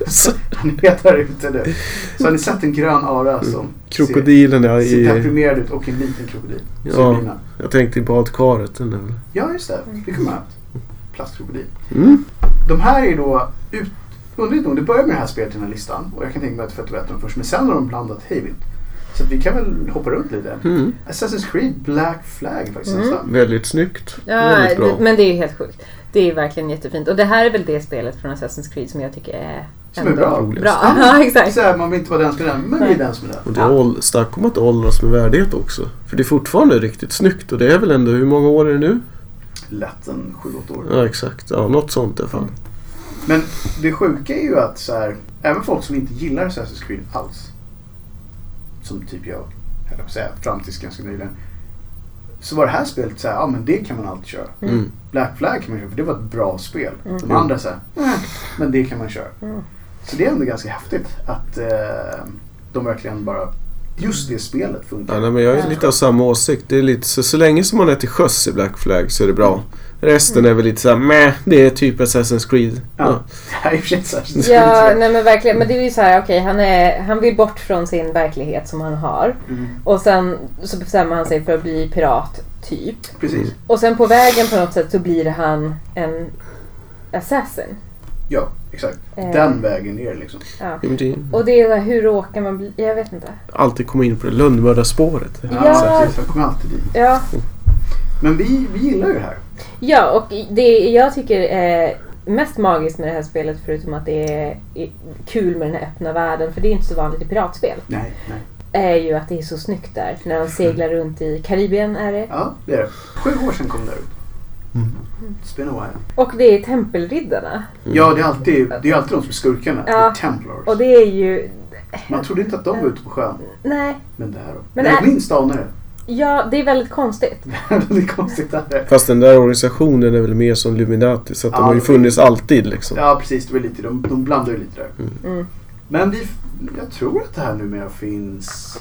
Speaker 1: Så
Speaker 2: Han är där ute nu. Så har ni sett en grön ara som
Speaker 1: Krokodilen ja,
Speaker 2: ser, ser
Speaker 1: Mm. i...
Speaker 2: deprimerad ut och en liten krokodil.
Speaker 1: Ja.
Speaker 2: Ja.
Speaker 1: Jag tänkte i badkaret. Den är väl...
Speaker 2: ja, just det. Det kommer jag ihåg. Plastkrokodil.
Speaker 1: mm.
Speaker 2: De här är då ut... Underligt nog, det börjar med det här spelet i den här listan. Och jag kan tänka mig att för att du vet dem först. Men sen har de blandat hejvilt. Så att vi kan väl hoppa runt lite.
Speaker 1: Mm.
Speaker 2: Assassin's Creed Black Flag faktiskt
Speaker 4: Mm.
Speaker 2: nästan.
Speaker 1: Väldigt snyggt.
Speaker 4: Ja,
Speaker 1: Väldigt bra.
Speaker 4: det, men det är ju helt sjukt. Det är verkligen jättefint. Och det här är väl det spelet från Assassin's Creed som jag tycker är
Speaker 2: Som är bra.
Speaker 1: Roligast.
Speaker 4: bra. [LAUGHS] Ja, exakt.
Speaker 2: Så här, man vill inte vara den som är den, men vi är den som är den.
Speaker 1: Och det är ål- snack om att åldras med värdighet också. För det är fortfarande riktigt snyggt och det är väl ändå, hur många år är det nu?
Speaker 2: Lätt en 7-8 år.
Speaker 1: Ja exakt, ja något sånt i alla fall.
Speaker 2: Men det sjuka är ju att så här, även folk som inte gillar Assassin's Creed alls. Som typ jag, eller jag säga, fram tills ganska nyligen. Så var det här spelet så här, ja men det kan man alltid köra.
Speaker 1: Mm.
Speaker 2: Black Flag kan man köra för det var ett bra spel. De
Speaker 1: Mm.
Speaker 2: andra så här, "Nej, men det kan man köra.
Speaker 4: Mm.
Speaker 2: Så det är ändå ganska häftigt att eh, de verkligen bara, just det spelet
Speaker 1: Ja,
Speaker 2: funkar.
Speaker 1: nej, men jag är lite av samma åsikt. Det är lite så, så länge som man är till sjöss i Black Flag så är det
Speaker 2: Mm.
Speaker 1: bra. Resten är väl lite såhär, meh, det är typ Assassin's Creed.
Speaker 2: Ja. [LAUGHS] Det här Mm. är i och för sig Assassin's
Speaker 4: Ja,
Speaker 2: Creed.
Speaker 4: nej men verkligen. Men det är ju så här, okej han, är, han vill bort från sin verklighet som han har.
Speaker 2: Mm,
Speaker 4: Och sen så bestämmer han sig för att bli pirat, typ.
Speaker 2: precis.
Speaker 1: Mm.
Speaker 4: Och sen på vägen på något sätt så blir han en assassin.
Speaker 2: Ja, exakt.
Speaker 4: Eh.
Speaker 2: Den vägen ner liksom.
Speaker 4: Ja.
Speaker 1: Ja, men det är
Speaker 4: Och det är så här, hur råkar man bli? Jag vet inte.
Speaker 1: alltid komma in på det lönnmördarspåret.
Speaker 4: Ja.
Speaker 2: precis. Jag kommer alltid dit.
Speaker 4: Ja,
Speaker 2: Men vi, vi gillar ju det här.
Speaker 4: ja och det jag tycker är mest magiskt med det här spelet förutom att det är är kul med den här öppna världen, för det är inte så vanligt i piratspel,
Speaker 2: Nej, nej.
Speaker 4: är ju att det är så snyggt där. När de seglar runt i Karibien är det.
Speaker 2: Ja, det är det. Sju år sedan kom det här upp. Mm. It's been a while.
Speaker 4: Och det är tempelriddarna.
Speaker 2: Ja, det är alltid, det är alltid de som är skurkarna.
Speaker 4: Ja.
Speaker 2: The Templars.
Speaker 4: Och det är ju...
Speaker 2: Man trodde inte att de var ute på sjön.
Speaker 4: Nej,
Speaker 2: Men det här då. Men
Speaker 4: Men
Speaker 2: Nej,
Speaker 4: är-
Speaker 2: minst anar [LAUGHS] det.
Speaker 4: ja det är väldigt konstigt.
Speaker 2: Väldigt konstigt är det.
Speaker 1: Fast den där organisationen är väl mer som Luminati så att de
Speaker 2: Ja,
Speaker 1: har ju
Speaker 2: det-
Speaker 1: funnits alltid liksom.
Speaker 2: Ja, precis. Det var lite, de, de blandar ju lite där.
Speaker 4: Mm.
Speaker 2: Men vi, jag tror att det här numera finns...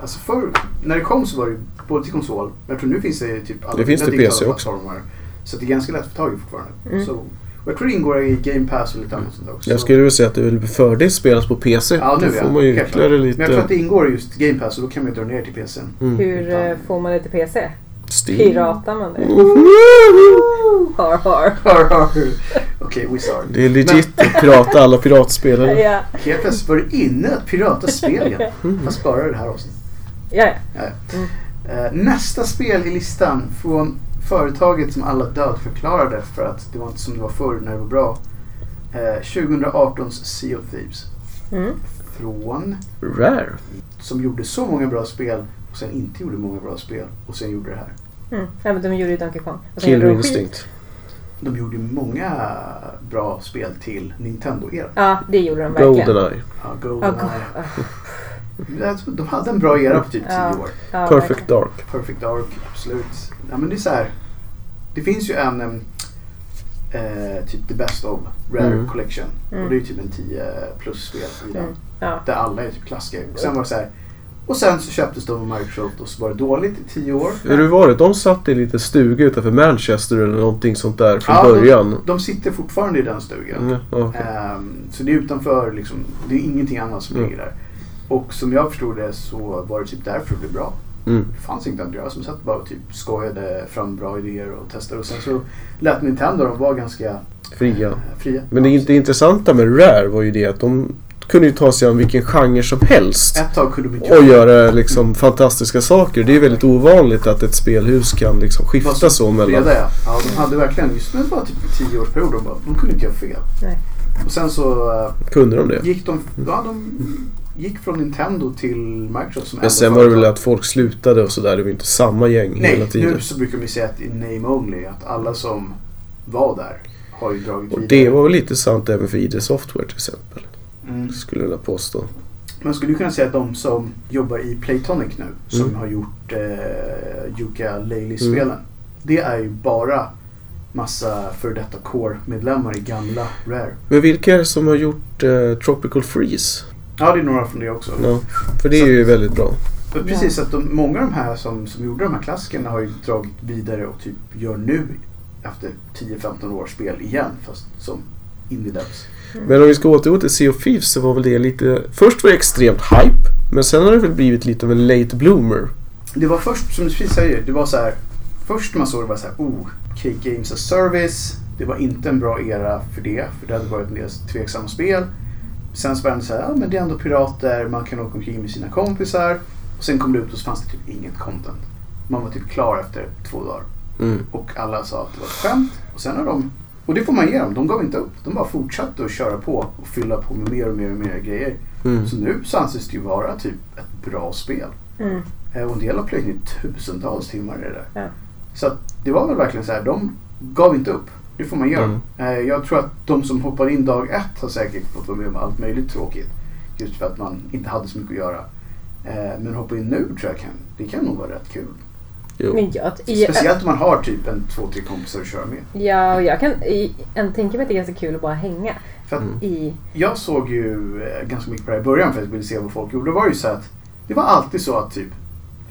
Speaker 2: Alltså förr, när det kom så var det ju både till konsol, men jag tror nu finns det typ alla
Speaker 1: Det finns
Speaker 2: mina
Speaker 1: det PC
Speaker 2: digitala
Speaker 1: också.
Speaker 2: plattformar. Så det är ganska lätt att få tag i fortfarande.
Speaker 4: Mm.
Speaker 2: Så, och jag tror det ingår i Game Pass och lite annat sånt där också.
Speaker 1: Jag
Speaker 2: Så-
Speaker 1: skulle vilja säga att det är väl fördel spelas på PC.
Speaker 2: Ja, nu
Speaker 1: Då
Speaker 2: ja.
Speaker 1: får man ju
Speaker 2: Helt
Speaker 1: ytterligare
Speaker 2: klart. Men jag tror
Speaker 1: lite
Speaker 2: att det ingår i just Game Pass och då kan man ju dra ner till PCn.
Speaker 1: mm,
Speaker 4: Hur eh, får man det till PC?
Speaker 1: stil.
Speaker 4: Piratar man det?
Speaker 1: Mhm.
Speaker 4: Har har.
Speaker 2: [LAUGHS] Okej, Wizard.
Speaker 1: Det är legit att pirata alla piratspelare.
Speaker 4: Ja,
Speaker 2: Helt plötsligt var det inne att pirata spel igen.
Speaker 1: Mm.
Speaker 2: Fast bara i det här avsnittet.
Speaker 4: ja, ja.
Speaker 2: Eh, Nästa spel i listan från företaget som alla dödförklarade för att det var inte som det var förr när det var bra. Eh, 2018s Sea of Thieves.
Speaker 4: Mm.
Speaker 2: Från,
Speaker 1: Rare.
Speaker 2: som gjorde så många bra spel och sen inte gjorde många bra spel och sen gjorde det här.
Speaker 4: Mm. Ja, men de gjorde ju Donkey Kong. Alltså, Och sen gjorde
Speaker 1: Killer
Speaker 4: de skit.
Speaker 1: Instinct.
Speaker 2: De gjorde många bra spel till Nintendo-eran.
Speaker 4: Ja, det gjorde de verkligen.
Speaker 1: Goldeneye.
Speaker 2: Ja,
Speaker 4: Ja, go-
Speaker 2: Goldeneye.
Speaker 4: ja,
Speaker 2: Alltså, De hade en bra era på typ 10
Speaker 4: Ja.
Speaker 2: år.
Speaker 4: ja, verkligen.
Speaker 1: Perfect Dark.
Speaker 2: Perfect Dark, absolut. Ja, men det är så här. Det finns ju en em, eh, typ The Best of Rare
Speaker 1: Mm.
Speaker 2: Collection.
Speaker 4: Mm.
Speaker 2: Och det är ju typ en 10 plus spel i den.
Speaker 4: Mm. Ja.
Speaker 2: Där alla är typ klassiker. Och sen var det så här. Och sen så köptes de av Microsoft och så var det dåligt i 10 år.
Speaker 1: Hur det var det? De satt i en liten stuga utanför Manchester eller någonting sånt där från
Speaker 2: Ja, de-
Speaker 1: början.
Speaker 2: De sitter fortfarande i den stugan.
Speaker 1: Mm, ja, okej.
Speaker 2: Ehm, så det är utanför liksom, det är ingenting annat som
Speaker 1: Mm.
Speaker 2: ligger där. Och som jag förstod det så var det typ därför det blev bra.
Speaker 1: Mm.
Speaker 2: Det fanns inte andra som satt bara och typ skojade fram bra idéer och testade. Och sen så lät Nintendo de var ganska
Speaker 1: Fria.
Speaker 2: eh, fria.
Speaker 1: Men det, det intressanta med Rare var ju det att de kunde ju ta sig an vilken genre som helst.
Speaker 2: Ett tag kunde de inte
Speaker 1: Och göra liksom fantastiska saker. Det är ju väldigt ovanligt att ett spelhus kan liksom
Speaker 2: Vad
Speaker 1: skifta
Speaker 2: som
Speaker 1: så mellan...
Speaker 2: Breda, ja. ja, de hade verkligen, just nu var det typ en tioårsperiod, de, bara, de kunde inte göra fel.
Speaker 4: Nej.
Speaker 2: Och sen så eh,
Speaker 1: Kunde de det?
Speaker 2: gick de, ja, de gick från Nintendo till Microsoft som
Speaker 1: Men sen var det väl att folk slutade och sådär. Det var ju inte samma gäng hela
Speaker 2: Nej,
Speaker 1: tiden.
Speaker 2: nu så brukar man säga att in name only, att alla som var där har ju dragit
Speaker 1: Och
Speaker 2: vidare.
Speaker 1: det var väl lite sant även för ID Software till exempel.
Speaker 2: Mm.
Speaker 1: Skulle jag vilja påstå.
Speaker 2: Man skulle ju kunna säga att de som jobbar i Playtonic nu, som
Speaker 1: Mm.
Speaker 2: har gjort eh, Yuka Laley-spelen, det är ju bara massa före detta Core-medlemmar i gamla Rare.
Speaker 1: Men vilka är det som har gjort eh, Tropical Freeze?
Speaker 2: Ja, det är några från det också.
Speaker 1: Ja, för det är ju väldigt bra.
Speaker 2: För precis, att de, många av de här som, som gjorde de här klassikerna har ju dragit vidare och typ gör nu efter 10-15 år spel igen, fast som indie-devs.
Speaker 4: Mm.
Speaker 1: Men om vi ska återgå till Sea of Thieves så var väl det lite... Först var det extremt hype. Men sen har det väl blivit lite av en late bloomer.
Speaker 2: Det var först, som du precis säger, det var så här. Först när man såg det var så här, oh, okej, Games as Service. Det var inte en bra era för det, för det hade varit en del tveksamma spel. Sen så var det så här, ja men det är ändå pirater, man kan åka omkring med sina kompisar. Och sen kom det ut och så fanns det typ inget content. Man var typ klar efter två dagar.
Speaker 1: Mm.
Speaker 2: Och alla sa att det var ett skämt. Och sen har de, och det får man ge dem, de gav inte upp. De bara fortsatte att köra på och fylla på med mer och mer och mer grejer.
Speaker 1: Mm.
Speaker 2: Så nu så anses det ju vara typ ett bra spel.
Speaker 4: Mm.
Speaker 2: Eh, Och en del har plöjt ner tusentals timmar i det där.
Speaker 4: Ja.
Speaker 2: Så att det var väl verkligen så här, de gav inte upp. Det får man göra. Eh, Jag tror att de som hoppade in dag ett har säkert fått vara med om allt möjligt tråkigt. Just för att man inte hade så mycket att göra. Eh, Men hoppa in nu tror jag kan, det kan nog vara rätt kul.
Speaker 1: Jo.
Speaker 4: Men jag, i,
Speaker 2: Speciellt om man har typ en två, tre kompisar att köra med.
Speaker 4: ja, och jag kan i, en, tänka mig att det är ganska kul att bara hänga
Speaker 2: För att
Speaker 1: Mm.
Speaker 4: i...
Speaker 2: Jag såg ju eh, ganska mycket på det här i början för att jag ville se vad folk gjorde. Det var ju så att det var alltid så att typ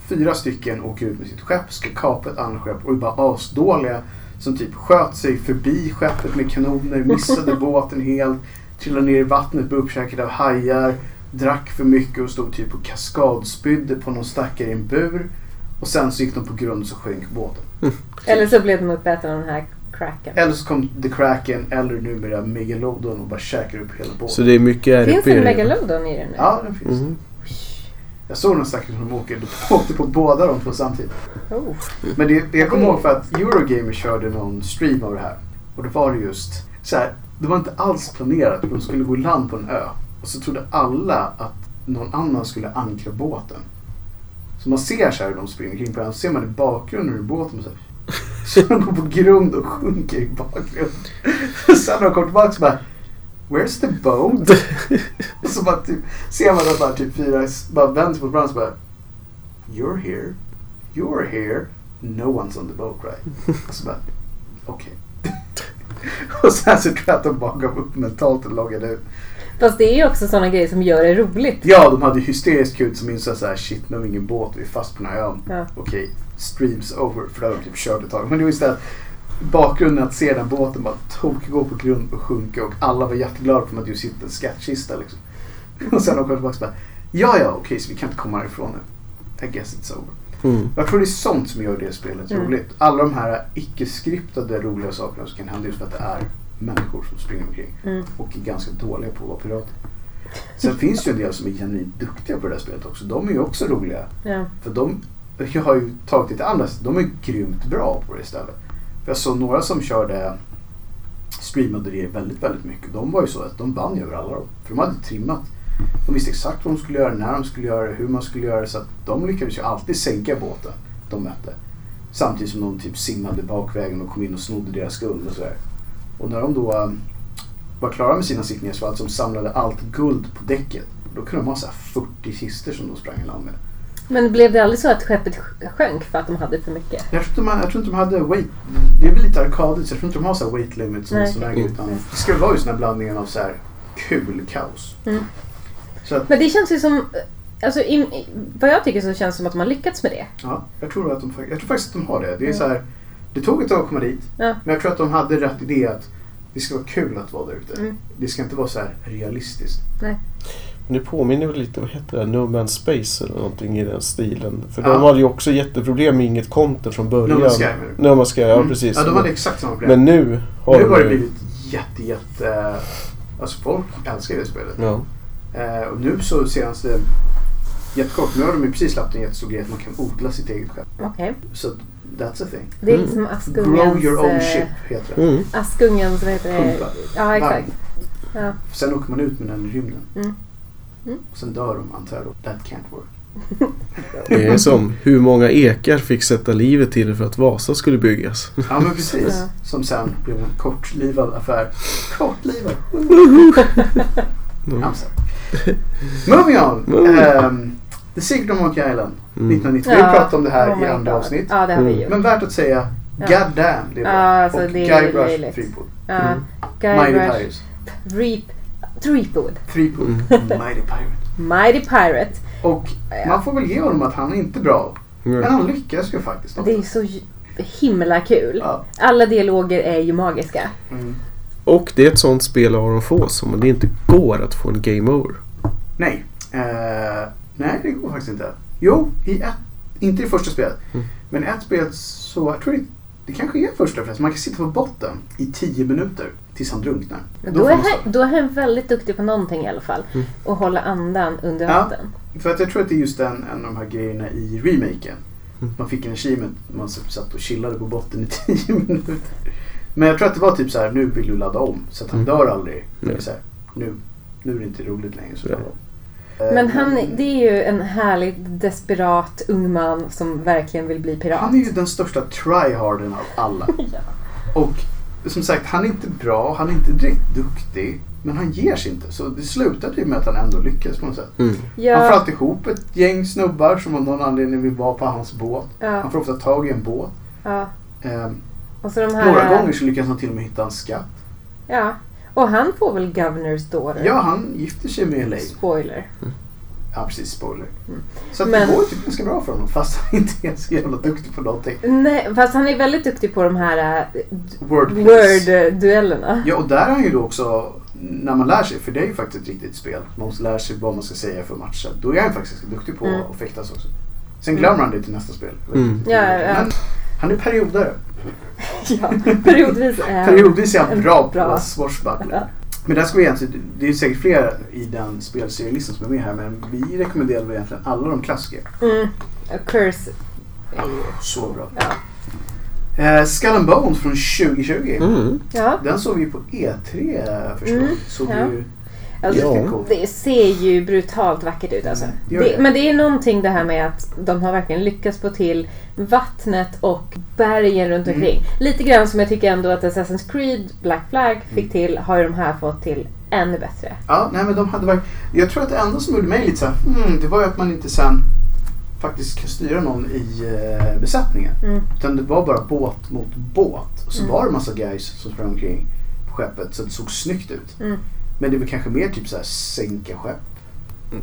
Speaker 2: fyra stycken åker ut med sitt skepp, ska kapa ett annat skepp och är bara asdåliga. Som typ sköt sig förbi skeppet med kanoner, missade båten helt, trillade ner i vattnet, blev uppkäkade av hajar, drack för mycket och stod typ och kaskadspydde på någon stackare i en bur. Och sen så gick de på grund och så sjönk båten.
Speaker 4: Eller så blev de uppätna av den här cracken.
Speaker 2: Eller så kom The Kraken eller numera Megalodon och bara käkade upp hela båten.
Speaker 1: Så det är mycket
Speaker 4: Finns
Speaker 1: RP.
Speaker 4: det en megalodon i den nu?
Speaker 2: Ja, den finns.
Speaker 1: Mm. [LAUGHS]
Speaker 2: Jag såg någon stackare som åker, [LAUGHS] de åkte på båda de två samtidigt.
Speaker 4: Oh.
Speaker 2: Men det, det jag kommer ihåg för att Eurogamer körde någon stream av det här. Och då var det just så här, det var inte alls planerat. De skulle gå i land på en ö. Och så trodde alla att någon annan skulle ankra båten. Så man ser så här hur de springer omkring på ön. Så ser man i bakgrunden hur båten så här. [LAUGHS] Så de går på grund och sjunker i bakgrunden. [LAUGHS] Sen när de kommer tillbaka så bara Where's the boat? Och [LAUGHS] så bara typ, ser man att bara typ fyra s- bara vänder sig mot varandra och så bara You're here, you're here, no one's on the boat right? Och så bara okej. [LAUGHS] och sen så tror jag att de bara gav upp mentalt och loggade ut.
Speaker 4: Fast det är ju också sådana grejer som gör det roligt.
Speaker 2: Ja, de hade hysteriskt kul som insåg så här shit nu har vi ingen båt, vi är fast på den här ön.
Speaker 4: Ja.
Speaker 2: Okej, streams over för då hade de typ kört ett tag. Men det var istället bakgrunden att se den båten bara tokgå på grund och sjunka och alla var jätteglada för att du sitter i en skattkista liksom. [LAUGHS] Och sen de kom tillbaka och bara ja ja okej så vi kan inte komma härifrån nu. I guess it's over.
Speaker 1: Mm.
Speaker 2: Jag tror det är sånt som gör det spelet
Speaker 4: Mm.
Speaker 2: roligt. Alla de här icke-skriptade roliga sakerna som kan hända just för att det är människor som springer omkring
Speaker 4: Mm.
Speaker 2: och är ganska dåliga på att vara pirater. Sen finns det ju en del som är genuint duktiga på det här spelet också. De är ju också roliga.
Speaker 4: Ja.
Speaker 2: För de jag har ju tagit lite andra, de är grymt bra på det istället. För jag såg några som körde streamade det väldigt, väldigt mycket. De var ju så att de vann ju över alla dem. För de hade trimmat De visste exakt vad de skulle göra, när de skulle göra det, hur man skulle göra det. Så att de lyckades ju alltid sänka båten de mötte. Samtidigt som de typ simmade bakvägen och kom in och snodde deras guld och sådär. Och när de då eh, var klara med sina sittningar så var det alltså de samlade allt guld på däcket. Då kunde de ha så här 40 kister som de sprang i land med.
Speaker 4: Men blev det aldrig så att skeppet sj- sjönk för att de hade för mycket?
Speaker 2: Jag tror, inte de, jag tror inte de hade weight... Det är väl lite arkadigt så jag tror inte de har så här weight limit som
Speaker 4: Nej.
Speaker 2: sån här grej. Utan det ska vara just den här blandningen av så här kul kaos.
Speaker 4: Mm.
Speaker 2: Så att,
Speaker 4: Men det känns ju som... Alltså, i, i, vad jag tycker så känns det som att de har lyckats med det.
Speaker 2: ja, jag tror, att de, fak- jag tror faktiskt att de har det. Det, är så här, det tog ett tag att komma dit.
Speaker 4: Mm. Ja.
Speaker 2: Men jag tror att de hade rätt idé att det ska vara kul att vara där ute.
Speaker 4: Mm.
Speaker 2: Det ska inte vara så här realistiskt.
Speaker 1: Men det påminner väl lite, vad heter det, No Man's Space eller någonting i den stilen. För
Speaker 2: Ja.
Speaker 1: de hade ju också jätteproblem med inget content från början.
Speaker 2: No Man's Sky, menar du?
Speaker 1: No Man's Sky, ja
Speaker 2: Mm.
Speaker 1: precis.
Speaker 2: Ja, de hade exakt samma problem.
Speaker 1: Men nu har
Speaker 2: nu har
Speaker 1: de
Speaker 2: det
Speaker 1: ju-
Speaker 2: blivit jätte, jätte... Alltså folk älskar det spelet.
Speaker 1: Ja.
Speaker 2: Eh, och nu så senaste... Jättekort, nu har de ju precis släppt en jättestor grej att man kan odla sitt eget skepp.
Speaker 4: Okej.
Speaker 2: Så that's a thing.
Speaker 4: Det är
Speaker 1: Mm.
Speaker 4: liksom Askungens...
Speaker 2: Grow your own
Speaker 4: eh,
Speaker 2: ship heter det.
Speaker 1: Mm.
Speaker 4: Askungens, vad heter det?
Speaker 2: Pumpa.
Speaker 4: Ja, exakt. Ja.
Speaker 2: Sen åker man ut med den i rymden.
Speaker 4: Mm. Mm.
Speaker 2: Och sen dör de antar jag då. That can't work.
Speaker 1: Det är som hur många ekar fick sätta livet till för att Vasa skulle byggas.
Speaker 2: Ja men precis.
Speaker 4: [LAUGHS] Ja.
Speaker 2: Som sen blev en kortlivad affär. Kortlivad!
Speaker 1: Mm.
Speaker 2: I'm sorry. Moving on!
Speaker 1: Moving on.
Speaker 2: Ehm, The Secret of Monkey Island
Speaker 1: Mm.
Speaker 2: 1990.
Speaker 4: Ja.
Speaker 2: Vi pratade om det här
Speaker 4: Oh my
Speaker 2: i andra
Speaker 4: God.
Speaker 2: avsnitt. Mm.
Speaker 4: Ja, det har vi gjort.
Speaker 2: Men värt att säga,
Speaker 4: Ja.
Speaker 2: God damn det är bra.
Speaker 4: Ja, alltså,
Speaker 2: och
Speaker 4: det är
Speaker 2: Guybrush
Speaker 4: löjligt.
Speaker 2: Threepwood.
Speaker 4: Ja.
Speaker 1: Mm.
Speaker 2: Mighty
Speaker 4: Guybrush,
Speaker 2: Pirates.
Speaker 4: Reap, Threepwood,
Speaker 2: Threepwood.
Speaker 1: Mm.
Speaker 2: [LAUGHS] Mighty Pirate.
Speaker 4: Mighty Pirate.
Speaker 2: Och man får väl ge honom att han är inte bra.
Speaker 1: Mm.
Speaker 2: Men han lyckas ju faktiskt.
Speaker 4: Det är så j- himla kul.
Speaker 2: Ja.
Speaker 4: Alla dialoger är ju magiska.
Speaker 2: Mm.
Speaker 1: Och det är ett sånt spel Aron får som det inte går att få en game over.
Speaker 2: Nej. Eh, nej, det går faktiskt inte. Jo, i ett, inte i första spelet.
Speaker 1: Mm.
Speaker 2: Men ett spel så, jag tror det, det kanske är första förresten. Man kan sitta på botten i tio minuter tills han drunknar.
Speaker 4: Men
Speaker 2: Då
Speaker 4: då,
Speaker 2: får
Speaker 4: är
Speaker 2: man Mm.
Speaker 4: han, då är han väldigt duktig på någonting i alla fall. Och hålla andan under
Speaker 2: Ja.
Speaker 4: vatten.
Speaker 2: För att jag tror att det är just en, en av de här grejerna i remaken.
Speaker 1: Mm.
Speaker 2: Man fick en achievement, man satt och chillade på botten i [LAUGHS] tio minuter. Men jag tror att det var typ så här, nu vill du ladda om. Så att han
Speaker 1: Mm.
Speaker 2: dör aldrig. Det är
Speaker 1: Nej.
Speaker 2: så här, nu, nu är det inte roligt längre. Så
Speaker 1: Nej.
Speaker 2: Eh,
Speaker 4: Men han, det är ju en härligt desperat ung man som verkligen vill bli pirat.
Speaker 2: Han är ju den största tryharden av alla.
Speaker 4: [LAUGHS] Ja.
Speaker 2: Och som sagt, han är inte bra, han är inte direkt duktig. Men han ger sig inte. Så det slutade ju med att han ändå lyckas på något sätt.
Speaker 1: Mm.
Speaker 2: Han får
Speaker 4: Ja,
Speaker 2: alltid ihop ett gäng snubbar som av någon anledning vill vara på hans båt. Han
Speaker 4: ja,
Speaker 2: får ofta tag i en båt.
Speaker 4: ja.
Speaker 2: Ehm,
Speaker 4: Och så de här...
Speaker 2: några gånger så lyckas han till och med hitta en skatt.
Speaker 4: Ja. Och han får väl Governors daughter?
Speaker 2: Ja, han gifter sig med Elaine.
Speaker 4: Spoiler.
Speaker 2: Ja, precis. Spoiler. Så att
Speaker 4: Mm. Men-
Speaker 2: det går ju typ ganska bra för honom fast han [LAUGHS] inte är så jävla duktig på någonting.
Speaker 4: Nej, fast han är väldigt duktig på de här äh, d-
Speaker 2: Word, please.
Speaker 4: word-duellerna.
Speaker 2: Ja, och där är han ju då också, när man lär sig, för det är ju faktiskt ett riktigt spel. Man måste lära sig vad man ska säga för matchen. Då är han faktiskt ganska duktig på
Speaker 4: Mm.
Speaker 2: att fäktas också. Sen glömmer han det till nästa spel.
Speaker 1: Mm.
Speaker 4: Ja, ja, ja.
Speaker 2: Men han är periodare.
Speaker 4: [LAUGHS] Ja, periodvis är han-
Speaker 2: Periodvis är han bra på
Speaker 4: Eh, Bra.
Speaker 2: att swashbuckla. Men där ska vi egentligen, det är ju säkert fler i den spelserielistan som är med här men vi rekommenderar väl egentligen alla de klassiker.
Speaker 4: Mm. A curse.
Speaker 2: Så bra.
Speaker 4: Ja.
Speaker 2: Eh, Skull and Bones från 2020.
Speaker 1: Mm.
Speaker 4: Ja,
Speaker 2: Den såg vi på E E3 förstår
Speaker 4: Mm,
Speaker 2: jag. Såg
Speaker 4: ja.
Speaker 2: ju
Speaker 4: alltså,
Speaker 1: Ja.
Speaker 2: jättecool.
Speaker 4: det ser ju brutalt vackert ut alltså.
Speaker 2: Mm, det gör
Speaker 4: Det,
Speaker 2: det.
Speaker 4: men det är någonting det här med att de har verkligen lyckats få till vattnet och bergen runt
Speaker 2: Mm.
Speaker 4: omkring. Lite grann som jag tycker ändå att Assassin's Creed, Black Flag
Speaker 2: Mm.
Speaker 4: fick till, har ju de här fått till ännu bättre.
Speaker 2: Ja, nej men de hade verkligen... Jag tror att det enda som gjorde mig lite så här, hmm, det var ju att man inte sen faktiskt kan styra någon i eh, besättningen.
Speaker 4: Mm.
Speaker 2: Utan det var bara båt mot båt. Och så
Speaker 4: Mm.
Speaker 2: var det massa guys som sprang omkring på skeppet så det såg snyggt ut.
Speaker 4: Mm.
Speaker 2: Men det var kanske mer typ så här sänka skepp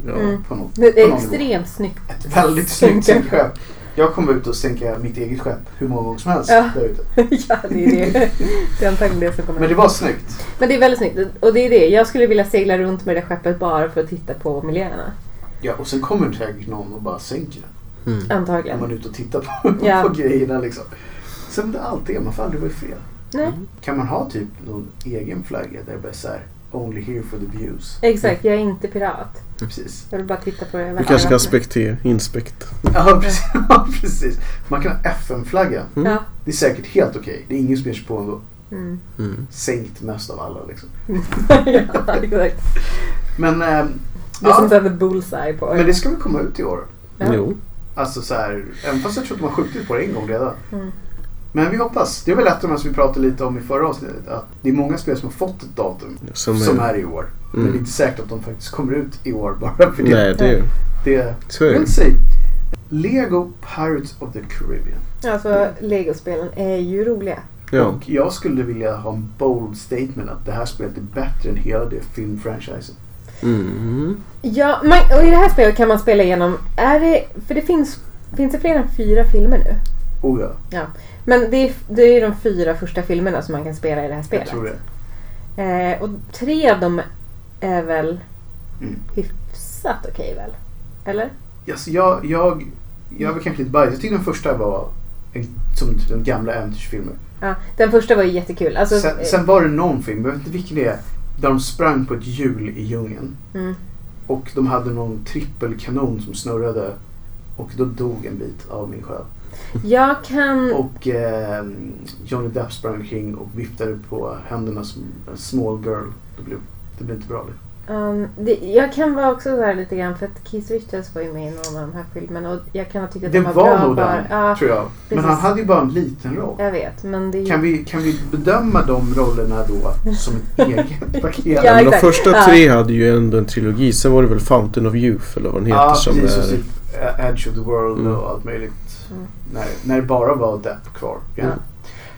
Speaker 1: Ja.
Speaker 4: Mm.
Speaker 2: på något
Speaker 4: Det
Speaker 2: på
Speaker 4: är
Speaker 2: någon nivå.
Speaker 4: extremt snyggt. [LAUGHS]
Speaker 2: Ett väldigt snyggt
Speaker 4: Sänka.
Speaker 2: sänka skepp. Jag kommer ut och sänka mitt eget skepp hur många gånger som helst
Speaker 4: Ja.
Speaker 2: där ute.
Speaker 4: ja, det är det. Det är antagligen det som kommer
Speaker 2: Men det var snyggt.
Speaker 4: Men det är väldigt snyggt. Och det är det. Jag skulle vilja segla runt med det där skeppet bara för att titta på miljöerna.
Speaker 2: Ja, och sen kommer det säkert någon och bara sänker den.
Speaker 1: Mm.
Speaker 2: När
Speaker 4: Antagligen.
Speaker 2: man är ute och tittar på,
Speaker 4: Ja.
Speaker 2: [LAUGHS] på grejerna liksom. Som det alltid är, man får aldrig vara i fred.
Speaker 4: Nej.
Speaker 2: Kan man ha typ någon egen flagga där det bara är så här, only here for the views?
Speaker 4: Exakt, jag är inte pirat.
Speaker 2: Precis.
Speaker 4: Jag vill bara titta på det.
Speaker 1: Du kanske kan spekte, inspekt.
Speaker 2: Ja, [LAUGHS] precis. Ja, precis. Man kan ha FN-flaggan.
Speaker 1: Mm.
Speaker 4: Ja.
Speaker 2: Det är säkert helt okej. Det är ingen som ger sig på en
Speaker 4: Mm.
Speaker 1: Mm.
Speaker 2: sänkt mest av alla liksom.
Speaker 4: ja, exakt.
Speaker 2: Men eh,
Speaker 4: Det
Speaker 2: Ja.
Speaker 4: som det hade bullseye på.
Speaker 2: Men det ska väl komma ut i år?
Speaker 4: Ja.
Speaker 1: Jo.
Speaker 2: Alltså så här, även fast jag tror att de har skjutit på det en gång redan.
Speaker 4: Mm.
Speaker 2: Men vi hoppas. Det är väl ett av de här som vi pratade lite om i förra avsnittet. Att det är många spel som har fått ett datum
Speaker 1: Som,
Speaker 2: som
Speaker 1: är,
Speaker 2: är i år. Men det är
Speaker 1: mm.
Speaker 2: inte säkert att de faktiskt kommer ut i år bara för det.
Speaker 1: Nej, det är ju...
Speaker 2: det
Speaker 1: Så är
Speaker 2: we'll
Speaker 1: det.
Speaker 2: see. Lego Pirates of the Caribbean.
Speaker 4: Alltså, legospelen är ju roliga.
Speaker 1: Ja.
Speaker 2: Och jag skulle vilja ha en bold statement att det här spelet är bättre än hela det filmfranchisen.
Speaker 1: Mm.
Speaker 4: Ja, man, och i det här spelet kan man spela igenom... Är det, för det finns, finns det fler än fyra filmer nu.
Speaker 2: Oh ja,
Speaker 4: Men det är, det är ju de fyra första filmerna som man kan spela i det här
Speaker 2: jag
Speaker 4: spelet.
Speaker 2: tror det.
Speaker 4: Eh, och tre av dem är väl
Speaker 2: Mm.
Speaker 4: hyfsat okej väl? Eller?
Speaker 2: Yes, jag, jag, jag var kanske lite biased. Jag tyckte den första var en, som typ den gamla äventyrsfilmen.
Speaker 4: Ja, den första var ju jättekul. Alltså,
Speaker 2: sen, sen var det någon film, jag vet inte vilken det är, där de sprang på ett hjul i djungeln.
Speaker 4: Mm.
Speaker 2: Och de hade någon trippelkanon som snurrade. Och då dog en bit av min själ.
Speaker 4: Jag kan...
Speaker 2: Och eh, Johnny Depp sprang omkring och viftade på händerna som en small girl. Det blev, det blev inte bra. Det.
Speaker 4: Um, det, jag kan vara också så här lite grann för att Keith Richards var ju med i någon av de här filmerna och jag kan ha tyckt att
Speaker 2: Det
Speaker 4: de var,
Speaker 2: var
Speaker 4: bra
Speaker 2: nog
Speaker 4: bara.
Speaker 2: den,
Speaker 4: Ja,
Speaker 2: tror jag. Men
Speaker 4: precis.
Speaker 2: han hade ju bara en liten roll.
Speaker 4: jag vet. Men det är ju...
Speaker 2: Kan vi, kan vi bedöma de rollerna då som
Speaker 4: [LAUGHS]
Speaker 2: ett eget paket?
Speaker 4: Ja,
Speaker 1: Ja, men de
Speaker 4: exakt.
Speaker 1: första
Speaker 4: Ja.
Speaker 1: tre hade ju ändå en trilogi. Sen var det väl Fountain of Youth eller vad den heter
Speaker 2: Ja,
Speaker 1: som
Speaker 2: precis. Och
Speaker 1: är...
Speaker 2: typ Edge of the World
Speaker 1: Mm.
Speaker 2: och allt möjligt.
Speaker 4: Mm.
Speaker 2: När, när det bara var Depp kvar. Ja.
Speaker 4: Ja.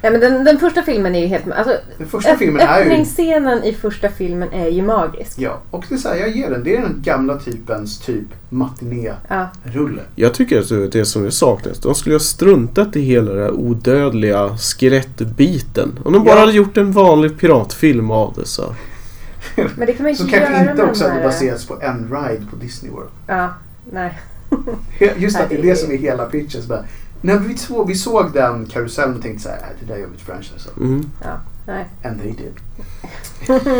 Speaker 4: Nej, men den, den första filmen är ju helt... Alltså,
Speaker 2: Den första filmen är ju...
Speaker 4: öppningsscenen i första filmen är ju magisk.
Speaker 2: Ja, och det är så här, jag ger den. Det är den gamla typens typ matinérulle.
Speaker 4: Ja.
Speaker 1: Jag tycker att det som det saknas, de skulle ha struntat i hela den här odödliga skelettbiten. Om de bara
Speaker 2: Ja.
Speaker 1: hade gjort en vanlig piratfilm av det så.
Speaker 4: Men det kan man
Speaker 2: [LAUGHS]
Speaker 4: ju
Speaker 2: Som
Speaker 4: inte göra
Speaker 2: kanske inte
Speaker 4: med
Speaker 2: också
Speaker 4: de
Speaker 2: hade
Speaker 4: här-
Speaker 2: baserats på en ride på Disney World. [LAUGHS]
Speaker 4: Ja, nej.
Speaker 2: Just att det är
Speaker 4: Nej,
Speaker 2: det
Speaker 4: det-
Speaker 2: som är hela pitchen. Så bara, när vi, såg, vi såg den karusellen och tänkte så här, "Äh, det där gör vi ett franchise av."
Speaker 1: Mm.
Speaker 4: nej. [LAUGHS]
Speaker 2: And they did.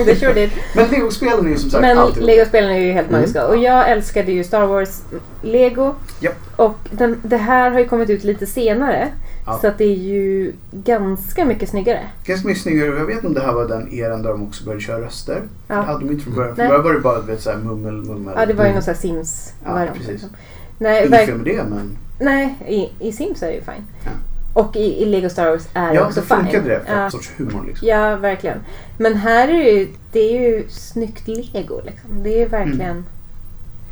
Speaker 4: det sure did.
Speaker 2: Men legospelen är ju som [LAUGHS] sagt
Speaker 4: Men
Speaker 2: alltid...
Speaker 4: Lego-spelen är ju helt
Speaker 1: Mm.
Speaker 4: magiska. Och jag älskade ju Star Wars Lego.
Speaker 2: Japp.
Speaker 4: Och den, det här har ju kommit ut lite senare.
Speaker 2: Ja.
Speaker 4: Så att det är ju ganska mycket snyggare.
Speaker 2: Ganska mycket snyggare. Jag vet inte om det här var den eran där de också började köra röster.
Speaker 4: Ja.
Speaker 2: Det hade de inte från början. Från
Speaker 4: Nej.
Speaker 2: början var det bara du vet, så här, mummel, mummel.
Speaker 4: Ja, det var ju
Speaker 1: Mm.
Speaker 4: någon sån här sims liksom.
Speaker 2: Ja, precis.
Speaker 4: Nej,
Speaker 2: Inget
Speaker 4: verk-
Speaker 2: fel med det, men
Speaker 4: nej i, i Sims är det ju fine.
Speaker 2: Ja.
Speaker 4: Och i, i Lego Star Wars är det
Speaker 2: ja,
Speaker 4: också
Speaker 2: det
Speaker 4: fine.
Speaker 2: funkade det. För
Speaker 4: ja.
Speaker 2: en sorts humor liksom.
Speaker 4: ja, verkligen. Men här är det ju, det är ju snyggt Lego liksom. Det är verkligen...
Speaker 2: Mm.